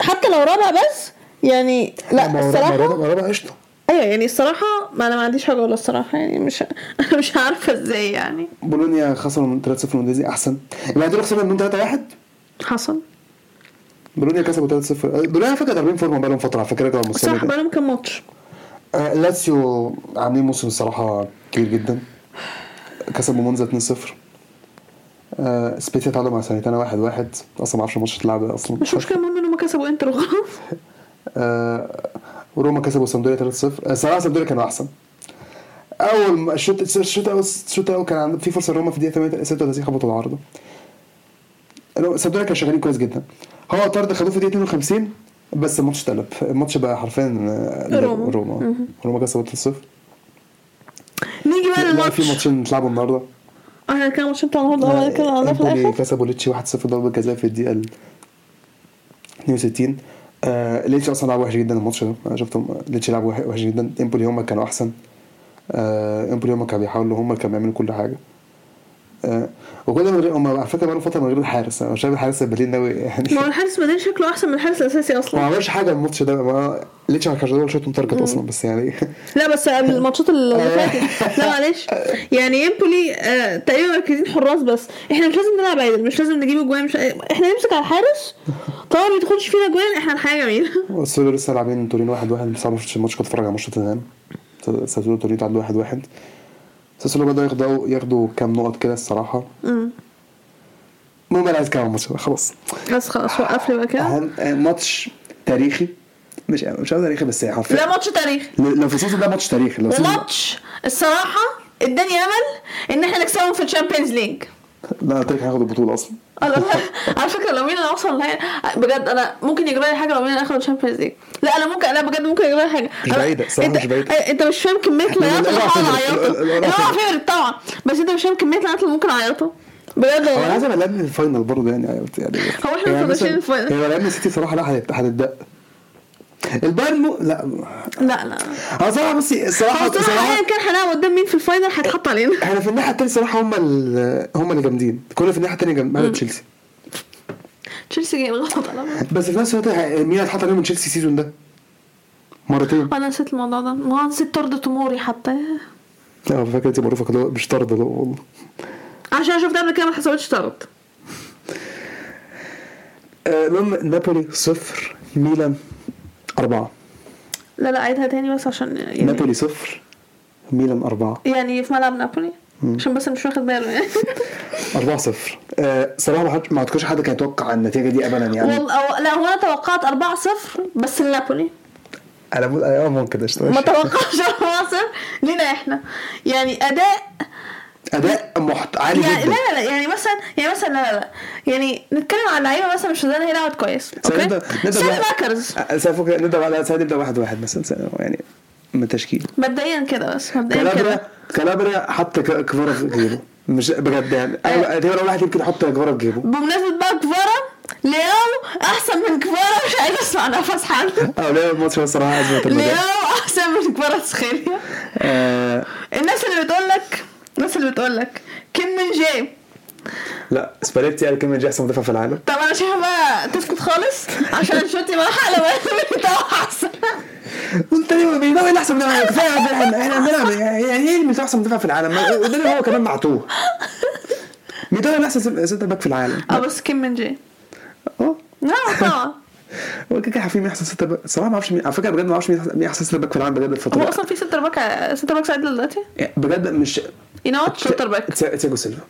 [SPEAKER 1] حتى لو رابع بس يعني
[SPEAKER 2] ما هو- ما
[SPEAKER 1] لا
[SPEAKER 2] هو
[SPEAKER 1] الصراحه
[SPEAKER 2] رابع- رابع قشطه
[SPEAKER 1] ايوه يعني الصراحه ما انا ما عنديش حاجه اقولها الصراحه يعني مش انا مش عارفه ازاي يعني
[SPEAKER 2] بولونيا خسروا من 3-0 من ديزي احسن يبقى دول خسروا من 3-1
[SPEAKER 1] حصل
[SPEAKER 2] بولونيا كسبوا 3-0 آه، بولونيا على فكره ضاربين فورمه بقالهم فتره على فكره كانوا
[SPEAKER 1] صح
[SPEAKER 2] مستمرين
[SPEAKER 1] بقالهم كام ماتش
[SPEAKER 2] آه، لاتسيو عاملين موسم الصراحه كبير جدا كسبوا مونزا 2-0 آه سبيتيا تعادلوا مع سانيتانا 1-1 اصلا ما اعرفش الماتش اتلعب ده اصلا
[SPEAKER 1] مش مشكله المهم ان هم كسبوا انتر وخلاص
[SPEAKER 2] آه روما كسبوا سامدوريا 3-0 آه صراحه سامدوريا كانوا احسن اول ما- الشوط الشوط الاول الشوط الاول كان عند- في فرصه روما في الدقيقه 8 36 خبطوا العارضه رو- سامدوريا كانوا شغالين كويس جدا هو طرد خدوه في الدقيقه 52 بس الماتش اتقلب الماتش بقى حرفيا آه،
[SPEAKER 1] روما.
[SPEAKER 2] روما روما كسبوا 3-0
[SPEAKER 1] نيجي بقى
[SPEAKER 2] لا في آه،
[SPEAKER 1] للماتش آه،
[SPEAKER 2] ماتشين اتلعبوا النهارده
[SPEAKER 1] احنا كان ماتشين بتوع النهارده هو اللي كان على ده في
[SPEAKER 2] امبولي
[SPEAKER 1] الاخر
[SPEAKER 2] كسبوا ليتشي 1-0 ضربه جزاء في الدقيقه ال 62 آه ليتشي اصلا لعب وحش جدا الماتش ده انا شفتهم ليتشي لعب وح- وحش جدا امبولي هم كانوا احسن آه امبولي هم كانوا بيحاولوا هم كانوا بيعملوا كل حاجه آه وكل ده من غير هم على فكره بقالهم فتره من غير الحارس انا شايف الحارس البديل قوي يعني
[SPEAKER 1] ما هو الحارس المدري شكله احسن من الحارس الاساسي
[SPEAKER 2] ما
[SPEAKER 1] اصلا
[SPEAKER 2] عملش حاجه الماتش ده ما ليتشي ما كانش ضربه شوط من تارجت اصلا بس يعني
[SPEAKER 1] لا بس قبل الماتشات اللي
[SPEAKER 2] آه.
[SPEAKER 1] فاتت لا معلش يعني امبولي آه تقريبا مركزين حراس بس احنا مش لازم نلعب عدل مش لازم نجيب اجوان مش احنا نمسك على الحارس طبعا ما يدخلش فينا اجوان احنا الحاجه جميله
[SPEAKER 2] سولو لسه لاعبين تورين واحد واحد بس أنا ما شفتش الماتش كنت بتفرج على ماتش توتنهام ساسولو تورين تعادل واحد واحد ساسولو بدأوا ياخدوا ياخدوا كام نقط كده الصراحة المهم أنا عايز كام ماتش خلاص
[SPEAKER 1] بس خلاص وقف لي بقى كده
[SPEAKER 2] أهم- آه، ماتش تاريخي مش مش عايز تاريخي بس حرفيا
[SPEAKER 1] لا ماتش تاريخي
[SPEAKER 2] لو لو في السيزون ده ماتش تاريخي لو السيزون-
[SPEAKER 1] وماتش الصراحه اداني امل ان احنا نكسبهم في الشامبيونز ليج
[SPEAKER 2] لا قلت لك هاخد البطوله اصلا
[SPEAKER 1] انا على فكره لو مين انا اوصل نهائي بجد انا ممكن يجرى لي حاجه لو مين انا اخد الشامبيونز ليج لا انا ممكن انا بجد ممكن يجرى لي حاجه
[SPEAKER 2] مش
[SPEAKER 1] أنا-
[SPEAKER 2] بعيدة، الصراحة
[SPEAKER 1] انت
[SPEAKER 2] مش بعيدة.
[SPEAKER 1] أي- انت مش فاهم كميه العياط اللي
[SPEAKER 2] القرع
[SPEAKER 1] هقعد
[SPEAKER 2] فضل،
[SPEAKER 1] اعيطها
[SPEAKER 2] ال- ال- القرع
[SPEAKER 1] القرع
[SPEAKER 2] فضل.
[SPEAKER 1] فضل طبعا بس انت مش فاهم كميه العياط اللي ممكن اعيطها بجد
[SPEAKER 2] هو انا
[SPEAKER 1] والله.
[SPEAKER 2] عايز ابقى لعبني الفاينل برضه يعني يعني
[SPEAKER 1] هو احنا
[SPEAKER 2] يعني
[SPEAKER 1] مش
[SPEAKER 2] مثلا-
[SPEAKER 1] ماشيين الفاينل.
[SPEAKER 2] يعني لو لعبنا سيتي صراحه لا هت- هتتدق البايرن مو لا
[SPEAKER 1] لا لا
[SPEAKER 2] انا صراحه بصي الصراحه
[SPEAKER 1] هو بصراحه ايا
[SPEAKER 2] الصراحه
[SPEAKER 1] كان هنلعب قدام مين في الفاينل هيتحط علينا
[SPEAKER 2] احنا في الناحيه الثانيه صراحه هم ال- هم اللي جامدين كنا في الناحيه الثانيه جامد مع تشيلسي
[SPEAKER 1] تشيلسي جاي غلط على
[SPEAKER 2] بس في نفس الوقت ه- مين هيتحط عليهم من تشيلسي السيزون ده مرتين
[SPEAKER 1] انا نسيت الموضوع ده ما أنا نسيت طرد تموري حتى
[SPEAKER 2] اه فاكر انت معروفه كده مش طرد ده والله
[SPEAKER 1] عشان شفت قبل كده ما اتحسبتش طرد
[SPEAKER 2] آه، المهم نابولي صفر ميلان أربعة
[SPEAKER 1] لا لا عيدها تاني بس عشان يعني
[SPEAKER 2] نابولي صفر ميلان أربعة
[SPEAKER 1] يعني في ملعب نابولي عشان بس مش واخد باله يعني
[SPEAKER 2] أربعة صفر آه، صراحة ما حد- ما أعتقدش حد كان يتوقع النتيجة دي أبدا يعني
[SPEAKER 1] والله أو- لا هو انا توقعت 4-0 بس لنابولي
[SPEAKER 2] أنا بقول أه ممكن أشتغل
[SPEAKER 1] ما توقعتش 4-0 لينا احنا يعني اداء
[SPEAKER 2] أداء محت... عالي
[SPEAKER 1] يعني لا
[SPEAKER 2] جدا
[SPEAKER 1] لا لا يعني مثلا يعني مثلا لا لا لا يعني نتكلم عن لعيبه مثلا مش زي هي لعبت كويس اوكي
[SPEAKER 2] سنبدأ
[SPEAKER 1] سير ماكرز
[SPEAKER 2] نبدأ نبدأ على سنة نبدأ واحد واحد مثلا سنة يعني من تشكيل
[SPEAKER 1] مبدئيا كده بس مبدئيا كده
[SPEAKER 2] كالابرا كالابرا حط ك- كفارا في جيبه مش بجد يعني أنا تقريبا أول واحد يمكن يحط كفارا في جيبه
[SPEAKER 1] بمناسبه بقى كفارا لياو احسن من كفارا مش عايز اسمع نفس حد
[SPEAKER 2] أه لا الماتش هو الصراحة أزمة المدى
[SPEAKER 1] لياو احسن من كفارا تسخيليا
[SPEAKER 2] آه،
[SPEAKER 1] الناس اللي بتقول لك الناس اللي بتقول لك كيم من جاي
[SPEAKER 2] لا سباليتي قال كلمة أحسن مدافع في العالم
[SPEAKER 1] طب انا شايفه بقى تسكت خالص عشان انشوتي بقى لو انا بتاع احسن
[SPEAKER 2] قلت لي بيداوي اللي احسن مدافع كفايه عبد الرحمن احنا بنلعب يعني ايه اللي احسن مدافع في العالم ما- قدامي هو كمان معتوه بيداوي اللي احسن سنتر باك في العالم
[SPEAKER 1] اه بس كيم من جاي
[SPEAKER 2] اه
[SPEAKER 1] لا طبعا
[SPEAKER 2] هو كده كده عارفين مين احسن سنتر باك صراحه ما اعرفش مين على فكره بجد ما اعرفش مين أحسن- مين احسن سنتر باك في العالم بجد
[SPEAKER 1] هو
[SPEAKER 2] الفتره دي.
[SPEAKER 1] اصلا في سنتر باك سنتر باك ساعد دلوقتي
[SPEAKER 2] يعني بجد مش
[SPEAKER 1] ينوت سنتر باك
[SPEAKER 2] تي- تياجو سيلفا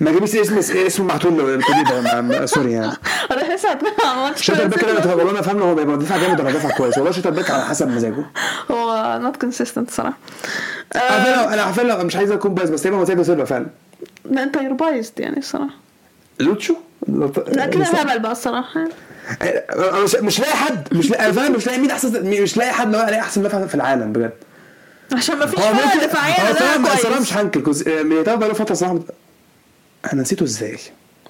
[SPEAKER 2] ما جابش اسم اسمه معتول الجديد ده، ما- ما- سوري يعني
[SPEAKER 1] انا لسه هتكلم عن ماتش
[SPEAKER 2] شاتر باك انا والله ما فاهمه هو بيبقى مدافع جامد ولا مدافع كويس والله شاتر باك على حسب مزاجه
[SPEAKER 1] هو نوت كونسيستنت صراحه آه.
[SPEAKER 2] عارفين
[SPEAKER 1] أه،
[SPEAKER 2] لو- انا عارفين لو- مش عايز اكون بايظ بس تقريبا هو تياجو سيلفا فعلا
[SPEAKER 1] لا انت يور بايزد يعني الصراحه
[SPEAKER 2] لوتشو
[SPEAKER 1] لا كده هبل بقى الصراحه
[SPEAKER 2] انا مش مش لاقي حد مش لاقي أنا فاهم مش لاقي مين احسن مش لاقي حد إن هو الاقي احسن مدافع في العالم بجد
[SPEAKER 1] عشان ما فيش فرقه دفاعيه
[SPEAKER 2] هو
[SPEAKER 1] لا
[SPEAKER 2] صراحه صراحه
[SPEAKER 1] كويس
[SPEAKER 2] مش هنكر جزء- ميليتاو بقاله فتره صراحه مت- انا نسيته ازاي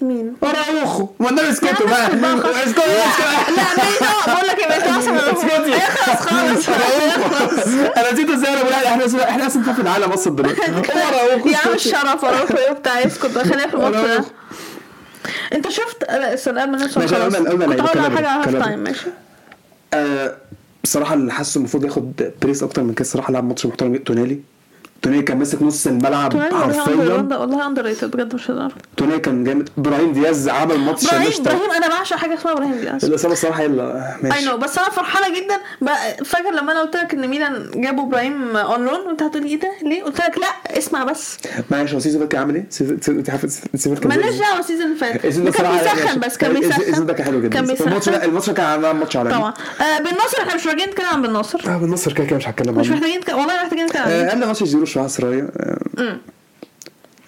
[SPEAKER 1] مين؟
[SPEAKER 2] اراوخو والنبي اسكتوا بقى
[SPEAKER 1] اسكت بقى خلاص.
[SPEAKER 2] اسكتوا اسكتوا
[SPEAKER 1] لا مين بقول لك إيه، يبقى انت احسن من
[SPEAKER 2] اسكتي.
[SPEAKER 1] اخلص خالص
[SPEAKER 2] أراوخو. انا نسيته ازاي انا بقول احنا أحسن- احنا احسن مدافع في العالم اصلا دلوقتي اراوخو
[SPEAKER 1] يا عم
[SPEAKER 2] اسكتي.
[SPEAKER 1] الشرف اروح ايه بتاع اسكت بقى، خلينا في الماتش ده
[SPEAKER 2] أراوخو.
[SPEAKER 1] انت شفت آه، لا السؤال من نفسه
[SPEAKER 2] ماشي، قلنا- قلنا
[SPEAKER 1] كنت هقول
[SPEAKER 2] لعيبة،
[SPEAKER 1] على
[SPEAKER 2] كلام-
[SPEAKER 1] حاجه على هاف
[SPEAKER 2] كلام.
[SPEAKER 1] تايم ماشي
[SPEAKER 2] آه، بصراحة اللي حاسه المفروض ياخد بريس أكتر من كده الصراحة لعب ماتش محترم تونالي تونالي كان ماسك نص الملعب
[SPEAKER 1] تونالي والله
[SPEAKER 2] حرفيا
[SPEAKER 1] under- والله اندر ريتد بجد مش هزار
[SPEAKER 2] تونالي كان جامد إبراهيم دياز عمل ماتش
[SPEAKER 1] ابراهيم
[SPEAKER 2] نشطة
[SPEAKER 1] ابراهيم انا بعشق حاجه اسمها ابراهيم دياز
[SPEAKER 2] الإصابة الصراحة هي اللي
[SPEAKER 1] اي
[SPEAKER 2] ماشي
[SPEAKER 1] نو بس انا فرحانه جدا بقى- فاكر لما انا قلت لك ان ميلان جابوا ابراهيم اون لون وانت هتقولي ايه ده ليه قلت لك لا اسمع بس
[SPEAKER 2] معلش هو سيزو ده كان عامل إيه؟ سيزو- سيزو- أنت عارف سيزو كان
[SPEAKER 1] مالناش
[SPEAKER 2] بيعمل إيه؟
[SPEAKER 1] دعوه السيزون اللي فات
[SPEAKER 2] السيزون ده
[SPEAKER 1] كان
[SPEAKER 2] صراحة
[SPEAKER 1] بيسخن
[SPEAKER 2] ماشي.
[SPEAKER 1] بس كان
[SPEAKER 2] السيزون-
[SPEAKER 1] بيسخن
[SPEAKER 2] السيزون ده كان حلو جدا
[SPEAKER 1] كان
[SPEAKER 2] الماتش
[SPEAKER 1] بيسخن
[SPEAKER 2] ده الماتش ده كان عامل ماتش عالمي
[SPEAKER 1] طبعا آه بالنصر احنا مش راجعين كده عن بالنصر
[SPEAKER 2] آه، بالنصر كده كده مش هتكلم
[SPEAKER 1] مش
[SPEAKER 2] عنه
[SPEAKER 1] محتاجين كده والله محتاجين كده
[SPEAKER 2] آه،
[SPEAKER 1] عن
[SPEAKER 2] قبل ماتش جيرو شوية عصرية آه،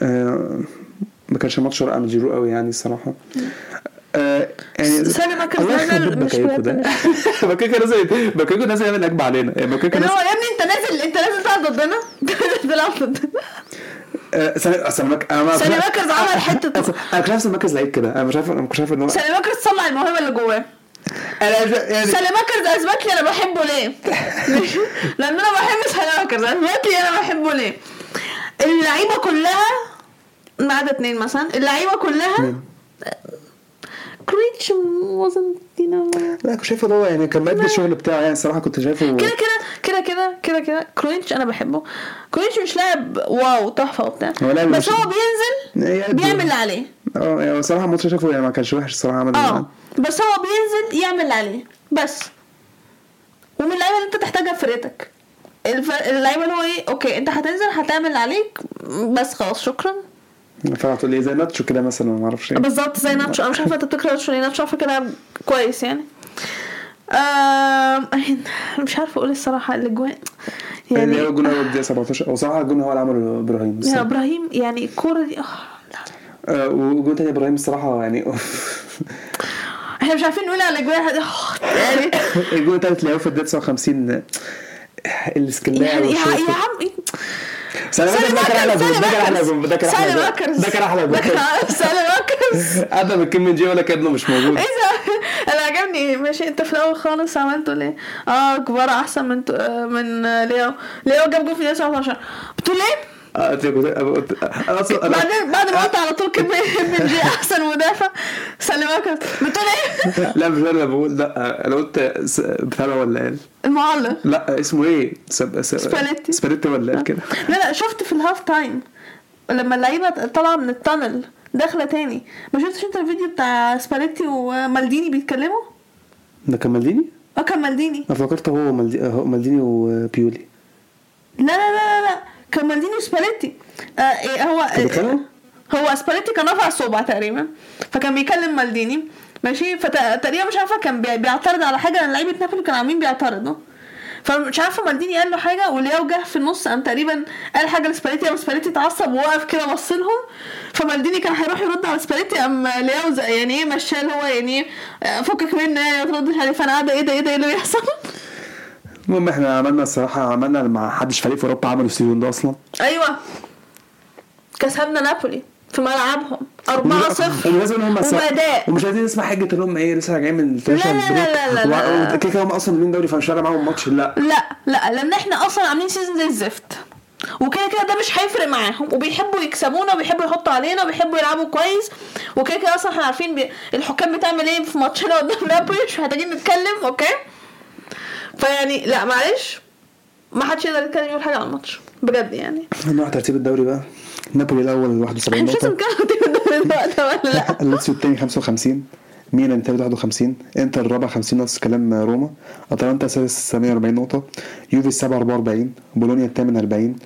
[SPEAKER 2] آه، ما كانش ماتش ورا عامل جيرو قوي يعني الصراحة آه، يعني
[SPEAKER 1] سامي ما كان
[SPEAKER 2] الله
[SPEAKER 1] نازل
[SPEAKER 2] يخرب بيت
[SPEAKER 1] مش
[SPEAKER 2] باكايوكو ده باكايوكو نازل باكايوكو نازل يعمل هجمه علينا يعني باكايوكو
[SPEAKER 1] اللي
[SPEAKER 2] نازل
[SPEAKER 1] هو يا ابني انت نازل انت نازل تلعب ضدنا تلعب ضدنا
[SPEAKER 2] آه، سامي سامي مك- أنا ما-
[SPEAKER 1] سامي مكرز عمل حتة-
[SPEAKER 2] أنا كنت عارف سامي مكرز لعيب كده انا مش عارف انا مش عارف ان هو
[SPEAKER 1] سالي ماكرز طلع الموهبه اللي جواه
[SPEAKER 2] انا مش- يعني
[SPEAKER 1] سالي ماكرز اثبت لي انا بحبه ليه لان انا بحب سالي ماكرز اثبت لي انا بحبه ليه اللعيبه كلها ما عدا اتنين مثلا اللعيبه كلها كريتش wasn't you know
[SPEAKER 2] لا كنت شايفه هو يعني كان مقدم الشغل بتاعه يعني الصراحه كنت شايفه
[SPEAKER 1] كده كده كده كده كده كده كرونيتش انا بحبه كرونيتش مش لاعب واو تحفه وبتاع
[SPEAKER 2] هو لاعب
[SPEAKER 1] بس
[SPEAKER 2] مش-
[SPEAKER 1] هو بينزل
[SPEAKER 2] يقدم.
[SPEAKER 1] بيعمل اللي عليه
[SPEAKER 2] اه يعني الصراحه الماتش شايفه يعني ما كانش وحش الصراحه عمل
[SPEAKER 1] اه بس هو بينزل يعمل اللي عليه بس ومن اللعيبه اللي انت تحتاجها في فرقتك الف- اللعيبه اللي هو ايه اوكي انت هتنزل هتعمل اللي عليك بس خلاص شكرا
[SPEAKER 2] فعلا يعني. تقول لي زي ناتشو كده مثلا ما اعرفش ايه
[SPEAKER 1] بالظبط زي ناتشو انا مش عارفه انت بتكره ناتشو ليه ناتشو على فكره لاعب كويس يعني آم، أنا مش عارفه اقول الصراحه الاجوان
[SPEAKER 2] يعني هو
[SPEAKER 1] يعني
[SPEAKER 2] الجون هو الدقيقه 17 هو صراحه الجون هو اللي عمله ابراهيم
[SPEAKER 1] يا
[SPEAKER 2] الصراحة.
[SPEAKER 1] ابراهيم يعني الكوره دي آه، لا.
[SPEAKER 2] آه، وجود تاني ابراهيم الصراحه يعني
[SPEAKER 1] احنا مش عارفين نقول على جواها ده يعني
[SPEAKER 2] الجول التالت اللي هو في الدقيقه 59 الاسكندريه
[SPEAKER 1] يعني يا
[SPEAKER 2] والشوط.
[SPEAKER 1] يا عم
[SPEAKER 2] سلام
[SPEAKER 1] سلام
[SPEAKER 2] ده كان احلى
[SPEAKER 1] أكرم،
[SPEAKER 2] جول ده كان احلى
[SPEAKER 1] سلام سالم
[SPEAKER 2] جول ده كان احلى جول
[SPEAKER 1] أكرز.
[SPEAKER 2] ده كان احلى
[SPEAKER 1] ده كان
[SPEAKER 2] جول
[SPEAKER 1] أحلى- سالم أكرز.
[SPEAKER 2] ابدا من كيم من جي ولا كابنه مش موجود
[SPEAKER 1] ايه ده انا عجبني ماشي انت في الاول خالص عملته ليه اه كبار احسن من آه، من آه، لياو لياو جاب جول في الدقيقه 17 بتقول ليه
[SPEAKER 2] آه، أنت كنت- أنا كنت- أنا اصلا أنا-
[SPEAKER 1] بعدين بعد ما قلت على طول كلمه بنجي احسن مدافع سالم أكرز. بتقول ايه
[SPEAKER 2] لا مش انا بقول لا انا قلت س- بتاع ده ولا قال
[SPEAKER 1] المعلق
[SPEAKER 2] لا اسمه ايه سب... س...
[SPEAKER 1] سباليتي. آه.
[SPEAKER 2] سباليتي ولا قال كده
[SPEAKER 1] لا لا شفت في الهاف تايم لما اللعيبه طالعه من التانل داخله تاني ما شفتش انت الفيديو بتاع سباليتي ومالديني بيتكلموا
[SPEAKER 2] ده كان مالديني؟
[SPEAKER 1] اه كان مالديني
[SPEAKER 2] انا فكرت هو مالدي... هو مالديني وبيولي
[SPEAKER 1] لا لا لا لا, لا. كان مالديني وسباليتي آه إيه هو
[SPEAKER 2] كانوا بيتخانقوا؟
[SPEAKER 1] هو سباليتي كان رافع صوبع تقريبا فكان بيكلم مالديني ماشي فتقريبا مش عارفه كان بي- بيعترض على حاجه لعيبه نابولي كانوا عاملين بيعترضوا فمش عارفه مالديني قال له حاجه ولياو جه في النص قام تقريبا قال حاجه لسباليتي قام سباليتي اتعصب ووقف كده بص لهم فمالديني كان هيروح يرد على سباليتي قام لياو زي- يعني ايه مشاه اللي هو يعني ايه آه، فكك منه يعني ما تردش عليه فانا قاعده ايه ده ايه ده ايه اللي بيحصل
[SPEAKER 2] المهم احنا عملنا الصراحه عملنا مع حدش فريق في اوروبا عملوا السيزون ده اصلا
[SPEAKER 1] ايوه كسبنا نابولي في ملعبهم 4 0
[SPEAKER 2] ولازم هم
[SPEAKER 1] وبداء
[SPEAKER 2] ومش عايزين نسمع حجه انهم ايه لسه راجعين من
[SPEAKER 1] لا لا لا لا لا.
[SPEAKER 2] كده كده هم اصلا مين دوري فمش فارق معاهم ماتش لا
[SPEAKER 1] لا لا لان احنا اصلا عاملين سيزون زي الزفت وكده كده ده مش هيفرق معاهم وبيحبوا يكسبونا وبيحبوا يحطوا علينا وبيحبوا يلعبوا كويس وكده كده اصلا احنا عارفين بي... الحكام بتعمل ايه في ماتشنا قدام نابولي مش محتاجين نتكلم اوكي فيعني لا معلش ما حدش يقدر يتكلم يقول حاجه على الماتش بجد يعني
[SPEAKER 2] نروح ترتيب الدوري بقى نابولي الاول
[SPEAKER 1] احنا
[SPEAKER 2] 71
[SPEAKER 1] مش لازم
[SPEAKER 2] نقطه
[SPEAKER 1] نتكلم دلوقتي ولا لا
[SPEAKER 2] لاتسيو الثاني 55 ميلان الثالث 51 انتر الرابع 50 نفس الكلام روما اتلانتا السادس 48 نقطة يوفي السابع 44 بولونيا الثامن 40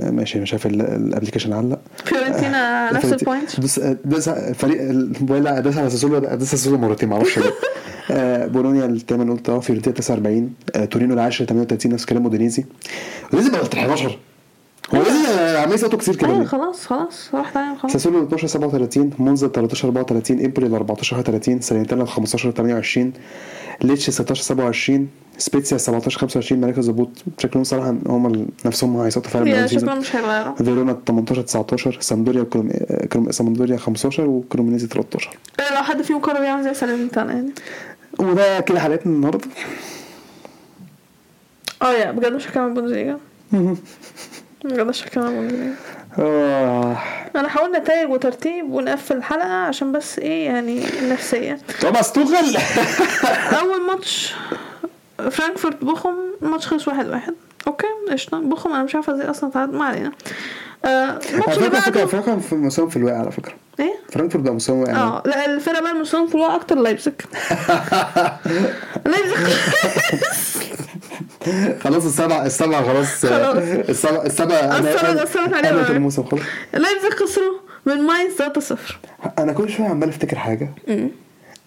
[SPEAKER 2] آه، ماشي مش عارف ال- الابلكيشن علق
[SPEAKER 1] فيورنتينا آه، نفس البوينت
[SPEAKER 2] بس بس فريق الموبايل لا، داس على ساسولو داس على ساسولو مرتين معرفش ليه آه، بولونيا الثامن قلت اه فيورنتينا 49 آه، تورينو العاشر 38 نفس الكلام اودينيزي اودينيزي بقى 11 هو اودينيزي عامل يسقطوا كتير كده
[SPEAKER 1] ايوه
[SPEAKER 2] ليه؟
[SPEAKER 1] خلاص خلاص روح تعالى خلاص
[SPEAKER 2] ساسولو 12 37 مونزا 13 34 امبري 14 31 سالينتانا 15 28 ليتش 16 27 سبيتسيا 17 25 مراكز هبوط شكلهم صراحه هم نفسهم هيسقطوا فعلا من
[SPEAKER 1] يا
[SPEAKER 2] أول سيزون.
[SPEAKER 1] شكلها مش هيغيروا
[SPEAKER 2] فيرونا 18 19 سامدوريا وكروم... كروم... سامدوريا 15 وكرومينيزي 13
[SPEAKER 1] إيه لو حد فيهم قرر يعمل زي سالنتانا يعني
[SPEAKER 2] وده كده حلقتنا النهارده
[SPEAKER 1] اه يا بجد مش هكمل بوندسليجا بجد مش هكمل بوندسليجا
[SPEAKER 2] آه.
[SPEAKER 1] انا هقول نتائج وترتيب ونقفل الحلقه عشان بس ايه يعني النفسيه
[SPEAKER 2] توماس توخل
[SPEAKER 1] اول ماتش فرانكفورت بوخم الماتش خلص واحد واحد اوكي قشطه بوخم انا مش عارفه ازاي اصلا تعاد ما علينا آه، الماتش اللي
[SPEAKER 2] على فكره
[SPEAKER 1] بعده
[SPEAKER 2] فرانكفورت في مستواهم في الواقع على فكره
[SPEAKER 1] ايه
[SPEAKER 2] فرانكفورت بقى يعني مستواهم واقع
[SPEAKER 1] اه لا الفرقه بقى المستوى في الواقع اكتر لايبزيج لايبزيج
[SPEAKER 2] خلاص السبع السبع خلاص آه،
[SPEAKER 1] خلاص.
[SPEAKER 2] السبع السبع
[SPEAKER 1] أثرت- أثرت عليهم
[SPEAKER 2] أنا
[SPEAKER 1] أوي.
[SPEAKER 2] في الموسم خلاص
[SPEAKER 1] لايبزيج خسروا من ماينز 3 0
[SPEAKER 2] انا كل شويه عمال افتكر حاجه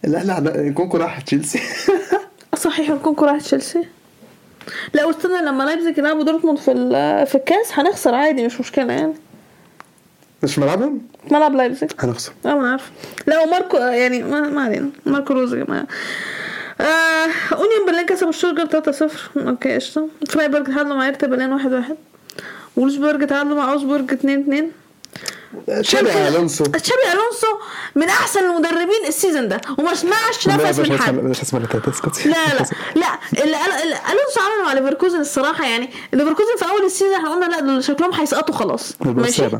[SPEAKER 2] لا لا لا كونكو راح تشيلسي
[SPEAKER 1] صحيح نكون راح تشيلسي لا واستنى لما لايبزيج يلعبوا دورتموند في ال- في الكاس هنخسر عادي مش مشكله يعني
[SPEAKER 2] مش ملعبهم
[SPEAKER 1] ملعب لايبزيج
[SPEAKER 2] هنخسر
[SPEAKER 1] اه ما انا عارفه لا وماركو يعني ما, ما علينا ماركو روز يا جماعه آه اونيون برلين كسبوا الشتوتجارت 3-0 اوكي قشطه فرايبرج تعادلوا مع ايرتا برلين 1-1 وولزبرج تعادلوا مع اوزبورج 2-2
[SPEAKER 2] تشابي الونسو
[SPEAKER 1] تشابي الونسو من احسن المدربين السيزون ده وما سمعش
[SPEAKER 2] لا،
[SPEAKER 1] نفس
[SPEAKER 2] مش
[SPEAKER 1] من
[SPEAKER 2] هسمع-
[SPEAKER 1] حد
[SPEAKER 2] مش هسمع التلاتة، اسكت
[SPEAKER 1] لا لا لا اللي قال- اللي الونسو عمله مع ليفركوزن الصراحه يعني ليفركوزن في اول السيزون احنا قلنا لا دول شكلهم هيسقطوا خلاص
[SPEAKER 2] الباب
[SPEAKER 1] ماشي
[SPEAKER 2] السابع.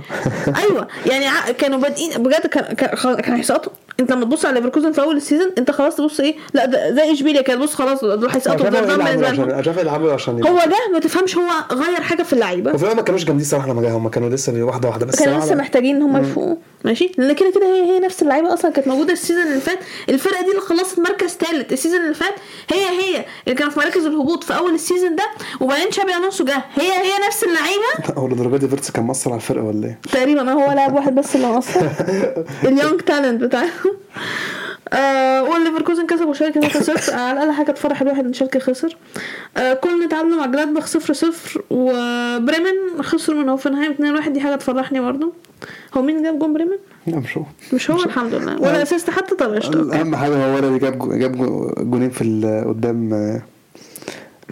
[SPEAKER 1] ايوه يعني ع- كانوا بادئين بجد كان كان- خلاص كانوا هيسقطوا انت لما تبص على ليفركوزن في اول السيزون انت خلاص تبص ايه لا ده زي اشبيليا كده بص خلاص دول
[SPEAKER 2] مش
[SPEAKER 1] هيسقطوا
[SPEAKER 2] عارف
[SPEAKER 1] دول بالنسبه
[SPEAKER 2] يلعبوا عشان
[SPEAKER 1] لهم
[SPEAKER 2] مش عارف يلعبوا إيه عشان
[SPEAKER 1] هو جه ما تفهمش هو غير حاجه في اللعيبه
[SPEAKER 2] وفي الأول ما كانوش جامدين صراحه لما جاهم هم كانوا لسه بي- واحده واحده بس
[SPEAKER 1] كانوا
[SPEAKER 2] صراحة
[SPEAKER 1] لسه محتاجين ان هم يفوقوا ماشي لان كده كده هي هي نفس اللعيبه اصلا كانت موجوده السيزون اللي فات الفرقه دي اللي خلصت مركز ثالث السيزون اللي فات هي هي اللي كانوا في مراكز الهبوط في اول السيزون ده وبعدين شابي الونسو جه هي هي نفس اللعيبه
[SPEAKER 2] هو لدرجه دي فيرتس كان مصر على الفرقه ولا ايه؟
[SPEAKER 1] تقريبا ما هو لاعب واحد بس اللي ناقصها اليونج تالنت بتاعهم آه والليفركوزن كسبوا شالكة 3 0 آه، على الاقل حاجه تفرح الواحد ان شالكة خسر آه كل تعادلوا مع جلادباخ 0 0 وبريمن خسروا من هوفنهايم 2 1 دي حاجه تفرحني برضه هو مين جاب جون بريمن؟
[SPEAKER 2] لا مش هو يعني.
[SPEAKER 1] مش هو الحمد لله ولا اسيست حتى طلع اشتراك
[SPEAKER 2] اهم حاجه هو اللي جاب جو- جاب جو- جونين في ال- قدام آه،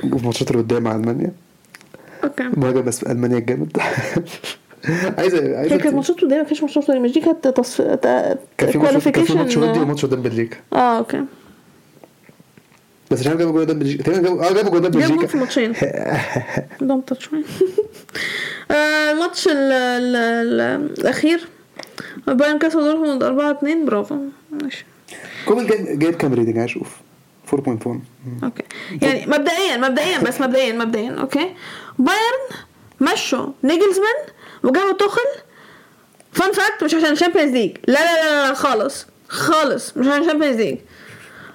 [SPEAKER 2] في ماتشات اللي قدام مع المانيا
[SPEAKER 1] اوكي
[SPEAKER 2] مهاجم بس المانيا الجامد عايزه
[SPEAKER 1] هي كانت
[SPEAKER 2] عايزه
[SPEAKER 1] ماتشات وديه ما كانش ماتشات وديه مش دي كانت تصف... تا-
[SPEAKER 2] كان في ماتش كان في ماتش ودي
[SPEAKER 1] qualification.
[SPEAKER 2] وماتش قدام بلجيكا
[SPEAKER 1] اه اوكي
[SPEAKER 2] بس مش عارف جابوا جول قدام بلجيكا تقريبا جابوا اه جابوا جول قدام
[SPEAKER 1] جاب جول في
[SPEAKER 2] بلجيكا
[SPEAKER 1] ماتشين ضمطت شوية آه، الماتش ال- ال- ال- الأخير بايرن كسبوا دورتموند 4 2 برافو ماشي
[SPEAKER 2] كومن جايب جايب كام ريتنج عايز اشوف 4.1
[SPEAKER 1] اوكي يعني مبدئيا مبدئيا بس مبدئيا مبدئيا اوكي بايرن مشوا نيجلزمان وجابوا توخل فان فاكت مش عشان الشامبيونز ليج لا لا لا لا خالص خالص مش عشان الشامبيونز ليج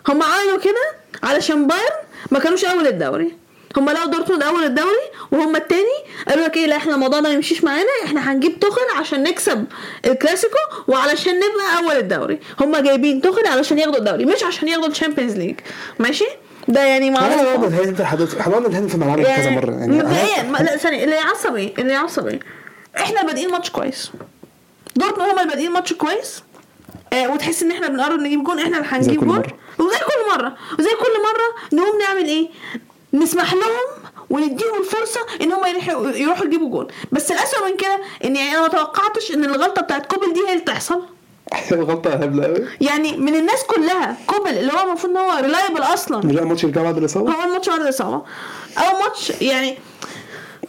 [SPEAKER 1] هم عملوا كده علشان بايرن ما كانوش اول الدوري هم لقوا دورتموند اول الدوري وهم التاني قالوا لك ايه لا احنا الموضوع ده ما يمشيش معانا احنا هنجيب توخن عشان نكسب الكلاسيكو وعلشان نبقى اول الدوري هم جايبين توخن علشان ياخدوا الدوري مش عشان ياخدوا الشامبيونز ليج ماشي ده يعني
[SPEAKER 2] انا
[SPEAKER 1] معروف
[SPEAKER 2] برضه الهند حضرتك حضرنا الهند في ملعبنا كذا مره يعني
[SPEAKER 1] مبدئيا ما- لا ثانية اللي يعصب ايه اللي يعصب ايه احنا بادئين ماتش كويس دورتموند هما اللي بادئين ماتش كويس آه وتحس ان احنا بنقرب نجيب جون احنا اللي هنجيب
[SPEAKER 2] كل
[SPEAKER 1] جون
[SPEAKER 2] مرة.
[SPEAKER 1] وزي كل مره وزي كل مره نقوم نعمل ايه نسمح لهم ونديهم الفرصه ان هم يلحقوا- يروحوا يجيبوا جون بس الاسوء من كده ان يعني انا ما توقعتش ان الغلطه بتاعت كوبل دي هي اللي تحصل
[SPEAKER 2] غلطه هبله قوي
[SPEAKER 1] يعني من الناس كلها كوبل اللي هو المفروض ان هو ريلايبل اصلا
[SPEAKER 2] مش بقى ماتش الجامعه بعد الاصابه
[SPEAKER 1] هو الماتش بعد الاصابه او ماتش يعني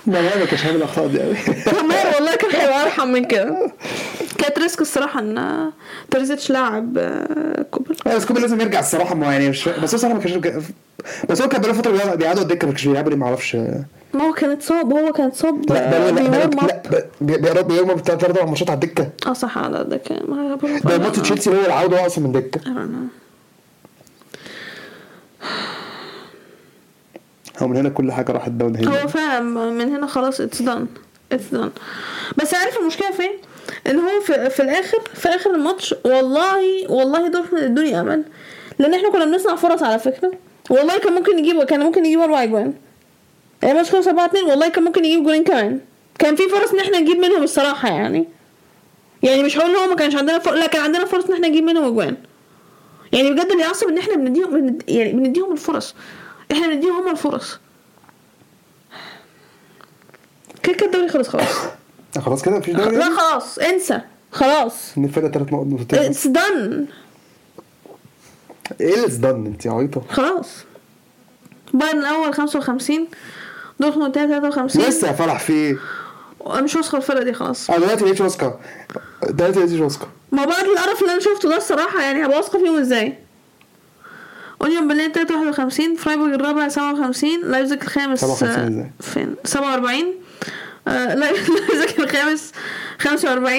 [SPEAKER 2] ما ما كانش عامل الاخطاء دي قوي
[SPEAKER 1] كمان والله كان هيبقى ارحم من كده أيوة، كانت ريسك الصراحه ان تريزيتش لاعب آه، كوبل
[SPEAKER 2] لا، بس كوبر لازم يرجع الصراحه ما هو يعني مش بس هو الصراحه ما كانش بس هو كان بقاله فتره بيقعد- بيقعدوا على الدكه ما كانش بيلعبوا ليه ما اعرفش لا
[SPEAKER 1] ما هو كان اتصاب هو آه، كان اتصاب
[SPEAKER 2] ده لا لا
[SPEAKER 1] بيورم
[SPEAKER 2] لا
[SPEAKER 1] اب
[SPEAKER 2] ب- بي- بيقعدوا بيقعدوا ثلاث اربع ماتشات على الدكه
[SPEAKER 1] اه صح لا ده كان ما-
[SPEAKER 2] ده
[SPEAKER 1] آه.
[SPEAKER 2] ماتش تشيلسي هو اللي عوده اصلا من دكه
[SPEAKER 1] I don't know.
[SPEAKER 2] هو من هنا كل حاجه راحت داون هنا
[SPEAKER 1] هو فعلا من هنا خلاص اتس دان اتس دان بس عارف المشكله فين ان هو في, في الاخر في اخر الماتش والله والله دورتموند ادوني امل لان احنا كنا بنصنع فرص على فكره والله كان ممكن يجيب كان ممكن يجيب اربع اجوان الماتش خلص 4 2 والله كان ممكن يجيب جولين كمان كان في فرص ان احنا نجيب منهم الصراحه يعني يعني مش هقول ان هو ما كانش عندنا فرص لا كان عندنا فرص ان احنا نجيب منهم اجوان يعني بجد اللي يعصب ان احنا بنديهم بند- يعني بنديهم الفرص احنا بنديهم هم الفرص كده كده الدوري خلص خلاص
[SPEAKER 2] آه، خلاص كده مفيش دوري
[SPEAKER 1] لا
[SPEAKER 2] يعني؟
[SPEAKER 1] خلاص إيه. انسى خلاص
[SPEAKER 2] من فرقه ثلاث نقط نقطتين بس.
[SPEAKER 1] اتس دان
[SPEAKER 2] ايه اللي دان انت يا عبيطه
[SPEAKER 1] خلاص بايرن الاول 55 دورتموند التاني 53
[SPEAKER 2] لسه يا فرح في ايه؟
[SPEAKER 1] انا مش واثقه الفرقه دي خلاص
[SPEAKER 2] انا دلوقتي مش واثقه دلوقتي مش واثقه
[SPEAKER 1] ما بعد القرف اللي انا شفته ده الصراحه يعني هبقى واثقه فيهم ازاي اونيون برلين التالت 51 فرايبورج الرابع 57 لايبزيج الخامس
[SPEAKER 2] 57
[SPEAKER 1] آه،
[SPEAKER 2] إزاي؟
[SPEAKER 1] فين 47 آه، لا- لايبزيج الخامس 45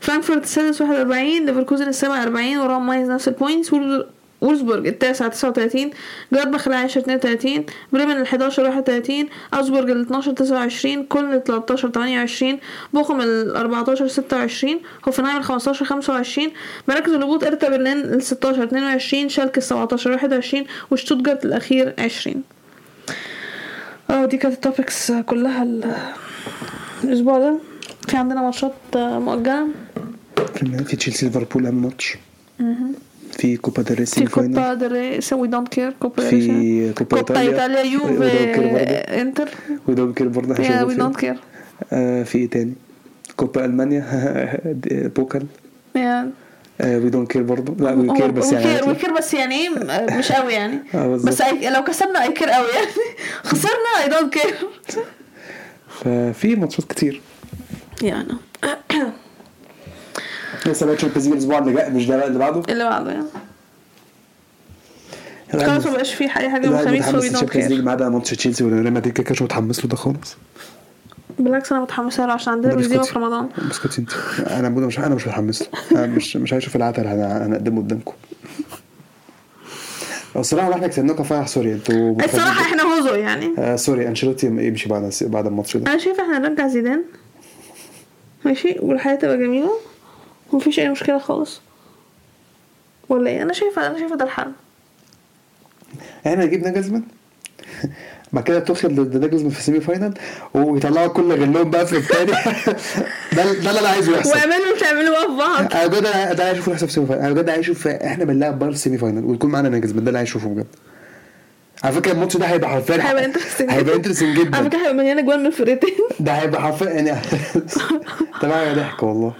[SPEAKER 1] فرانكفورت السادس 41 ليفركوزن السابع 40 وراهم ماينز نفس البوينتس وول- وولفسبورج التاسع 39 جلادباخ العاشر 32 بريمن ال 11 31 اوزبورج ال 12 29 كولن ال 13 28 بوخم ال 14 26 هوفنهايم ال 15 25 مراكز الهبوط ارتا برلين ال 16 22 شالكة ال 17 21 وشتوتجارت الاخير 20 اه دي كانت التوبكس كلها ال- الاسبوع ده في عندنا ماتشات مؤجله
[SPEAKER 2] في تشيلسي ليفربول اهم ماتش في كوبا ديل ري
[SPEAKER 1] في
[SPEAKER 2] سيمي فاينال
[SPEAKER 1] كوبا دري سوي دونت كير كوبا
[SPEAKER 2] في
[SPEAKER 1] ريشا.
[SPEAKER 2] كوبا
[SPEAKER 1] كوبا
[SPEAKER 2] إيطاليا.
[SPEAKER 1] ايطاليا
[SPEAKER 2] We don't care برضه.
[SPEAKER 1] يوفي انتر
[SPEAKER 2] وي دونت كير برضه
[SPEAKER 1] يا
[SPEAKER 2] هنشوفه
[SPEAKER 1] وي
[SPEAKER 2] فين.
[SPEAKER 1] دونت كير
[SPEAKER 2] آه، في ايه تاني كوبا المانيا دي- بوكال آه،
[SPEAKER 1] يا
[SPEAKER 2] وي دونت كير برضه لا وي كير بس يعني
[SPEAKER 1] وكير
[SPEAKER 2] عادي.
[SPEAKER 1] وكير بس يعني ايه م- مش قوي يعني
[SPEAKER 2] آه، بالظبط.
[SPEAKER 1] بس أي- لو كسبنا اي كير قوي يعني خسرنا اي دونت كير
[SPEAKER 2] ففي ماتشات كتير
[SPEAKER 1] يعني
[SPEAKER 2] لسه بقى تشامبيونز ليج الاسبوع اللي جاي مش ده بقى اللي بعده
[SPEAKER 1] اللي بعده يعني
[SPEAKER 2] الواحد
[SPEAKER 1] خلاص
[SPEAKER 2] مت-
[SPEAKER 1] مبقاش في اي حاجه يوم
[SPEAKER 2] الواحد
[SPEAKER 1] الخميس
[SPEAKER 2] متحمس
[SPEAKER 1] فوي دونت
[SPEAKER 2] للتشامبيونز ليج
[SPEAKER 1] كير
[SPEAKER 2] ما عدا ماتش تشيلسي وريال مدريد كده كده مش متحمس له ده خالص
[SPEAKER 1] بالعكس انا متحمسه له عشان عندنا
[SPEAKER 2] ده
[SPEAKER 1] بنزيما
[SPEAKER 2] بسكوتي.
[SPEAKER 1] في رمضان
[SPEAKER 2] اسكتي انت انا بقول مش انا مش متحمس له انا مش مش هشوف العتل انا هنقدمه قدامكم الصراحه احنا كسبناكم فرح سوري انتوا
[SPEAKER 1] الصراحه احنا هوزو يعني
[SPEAKER 2] آه سوري انشيلوتي يمشي بعد بعد الماتش ده
[SPEAKER 1] انا شايفه احنا نرجع زيدان ماشي والحياه تبقى جميله ومفيش اي مشكله خالص ولا ايه انا شايفه انا شايفه ده الحل
[SPEAKER 2] احنا نجيب ناجلزمان بعد كده تاخد ناجلزمان في السيمي فاينال ويطلعوا كل غلهم بقى في التاني ده ده اللي انا عايزه يحصل
[SPEAKER 1] واعملوا مش اعملوا بقى في بعض
[SPEAKER 2] انا بجد ده اللي عايز اشوفه يحصل في السيمي فاينال انا بجد عايز اشوف احنا بنلعب بره السيمي فاينال ويكون معانا ناجلزمان ده اللي عايز اشوفه بجد على فكره الماتش ده هيبقى حرفيا
[SPEAKER 1] هيبقى انترستنج
[SPEAKER 2] هيبقى انترستنج جدا
[SPEAKER 1] على فكره هيبقى مليانه جوان من الفرقتين
[SPEAKER 2] ده هيبقى حرفيا يعني طبعا ضحك والله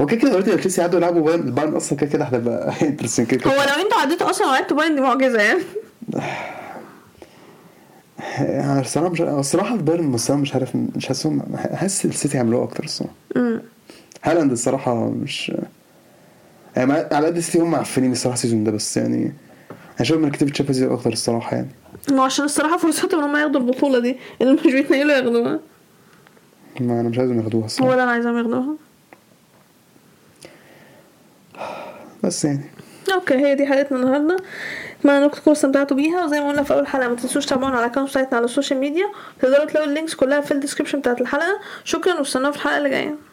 [SPEAKER 2] هو كده كده دلوقتي لو تشيلسي قعدوا يلعبوا بايرن البايرن اصلا كده كده هتبقى انترستنج كده
[SPEAKER 1] هو
[SPEAKER 2] كده.
[SPEAKER 1] لو انتوا عديتوا اصلا وعدتوا باين دي معجزه يعني
[SPEAKER 2] انا الصراحه يعني مش الصراحه البايرن الصراحه مش عارف مش حاسسهم حاسس السيتي هيعملوها اكتر الصراحه
[SPEAKER 1] أمم.
[SPEAKER 2] هالاند الصراحه مش يعني مع- على قد السيتي هم معفنين الصراحه السيزون ده بس يعني انا شايف من كتير تشامبيونز ليج اكتر الصراحه يعني
[SPEAKER 1] ما هو عشان الصراحه فرصتهم ان هم ياخدوا البطوله دي اللي مش بيتنقلوا ياخدوها
[SPEAKER 2] ما انا مش عايزهم ياخدوها
[SPEAKER 1] هو
[SPEAKER 2] الصراحه
[SPEAKER 1] ده انا عايزاهم ياخدوها
[SPEAKER 2] بس يعني
[SPEAKER 1] اوكي هي دي حلقتنا النهارده اتمنى انكم تكونوا استمتعتوا بيها وزي ما قلنا في اول حلقه ما تنسوش تتابعونا على اكونت بتاعتنا على السوشيال ميديا تقدروا تلاقوا اللينكس كلها في الديسكربشن بتاعت الحلقه شكرا واستنونا في الحلقه اللي جايه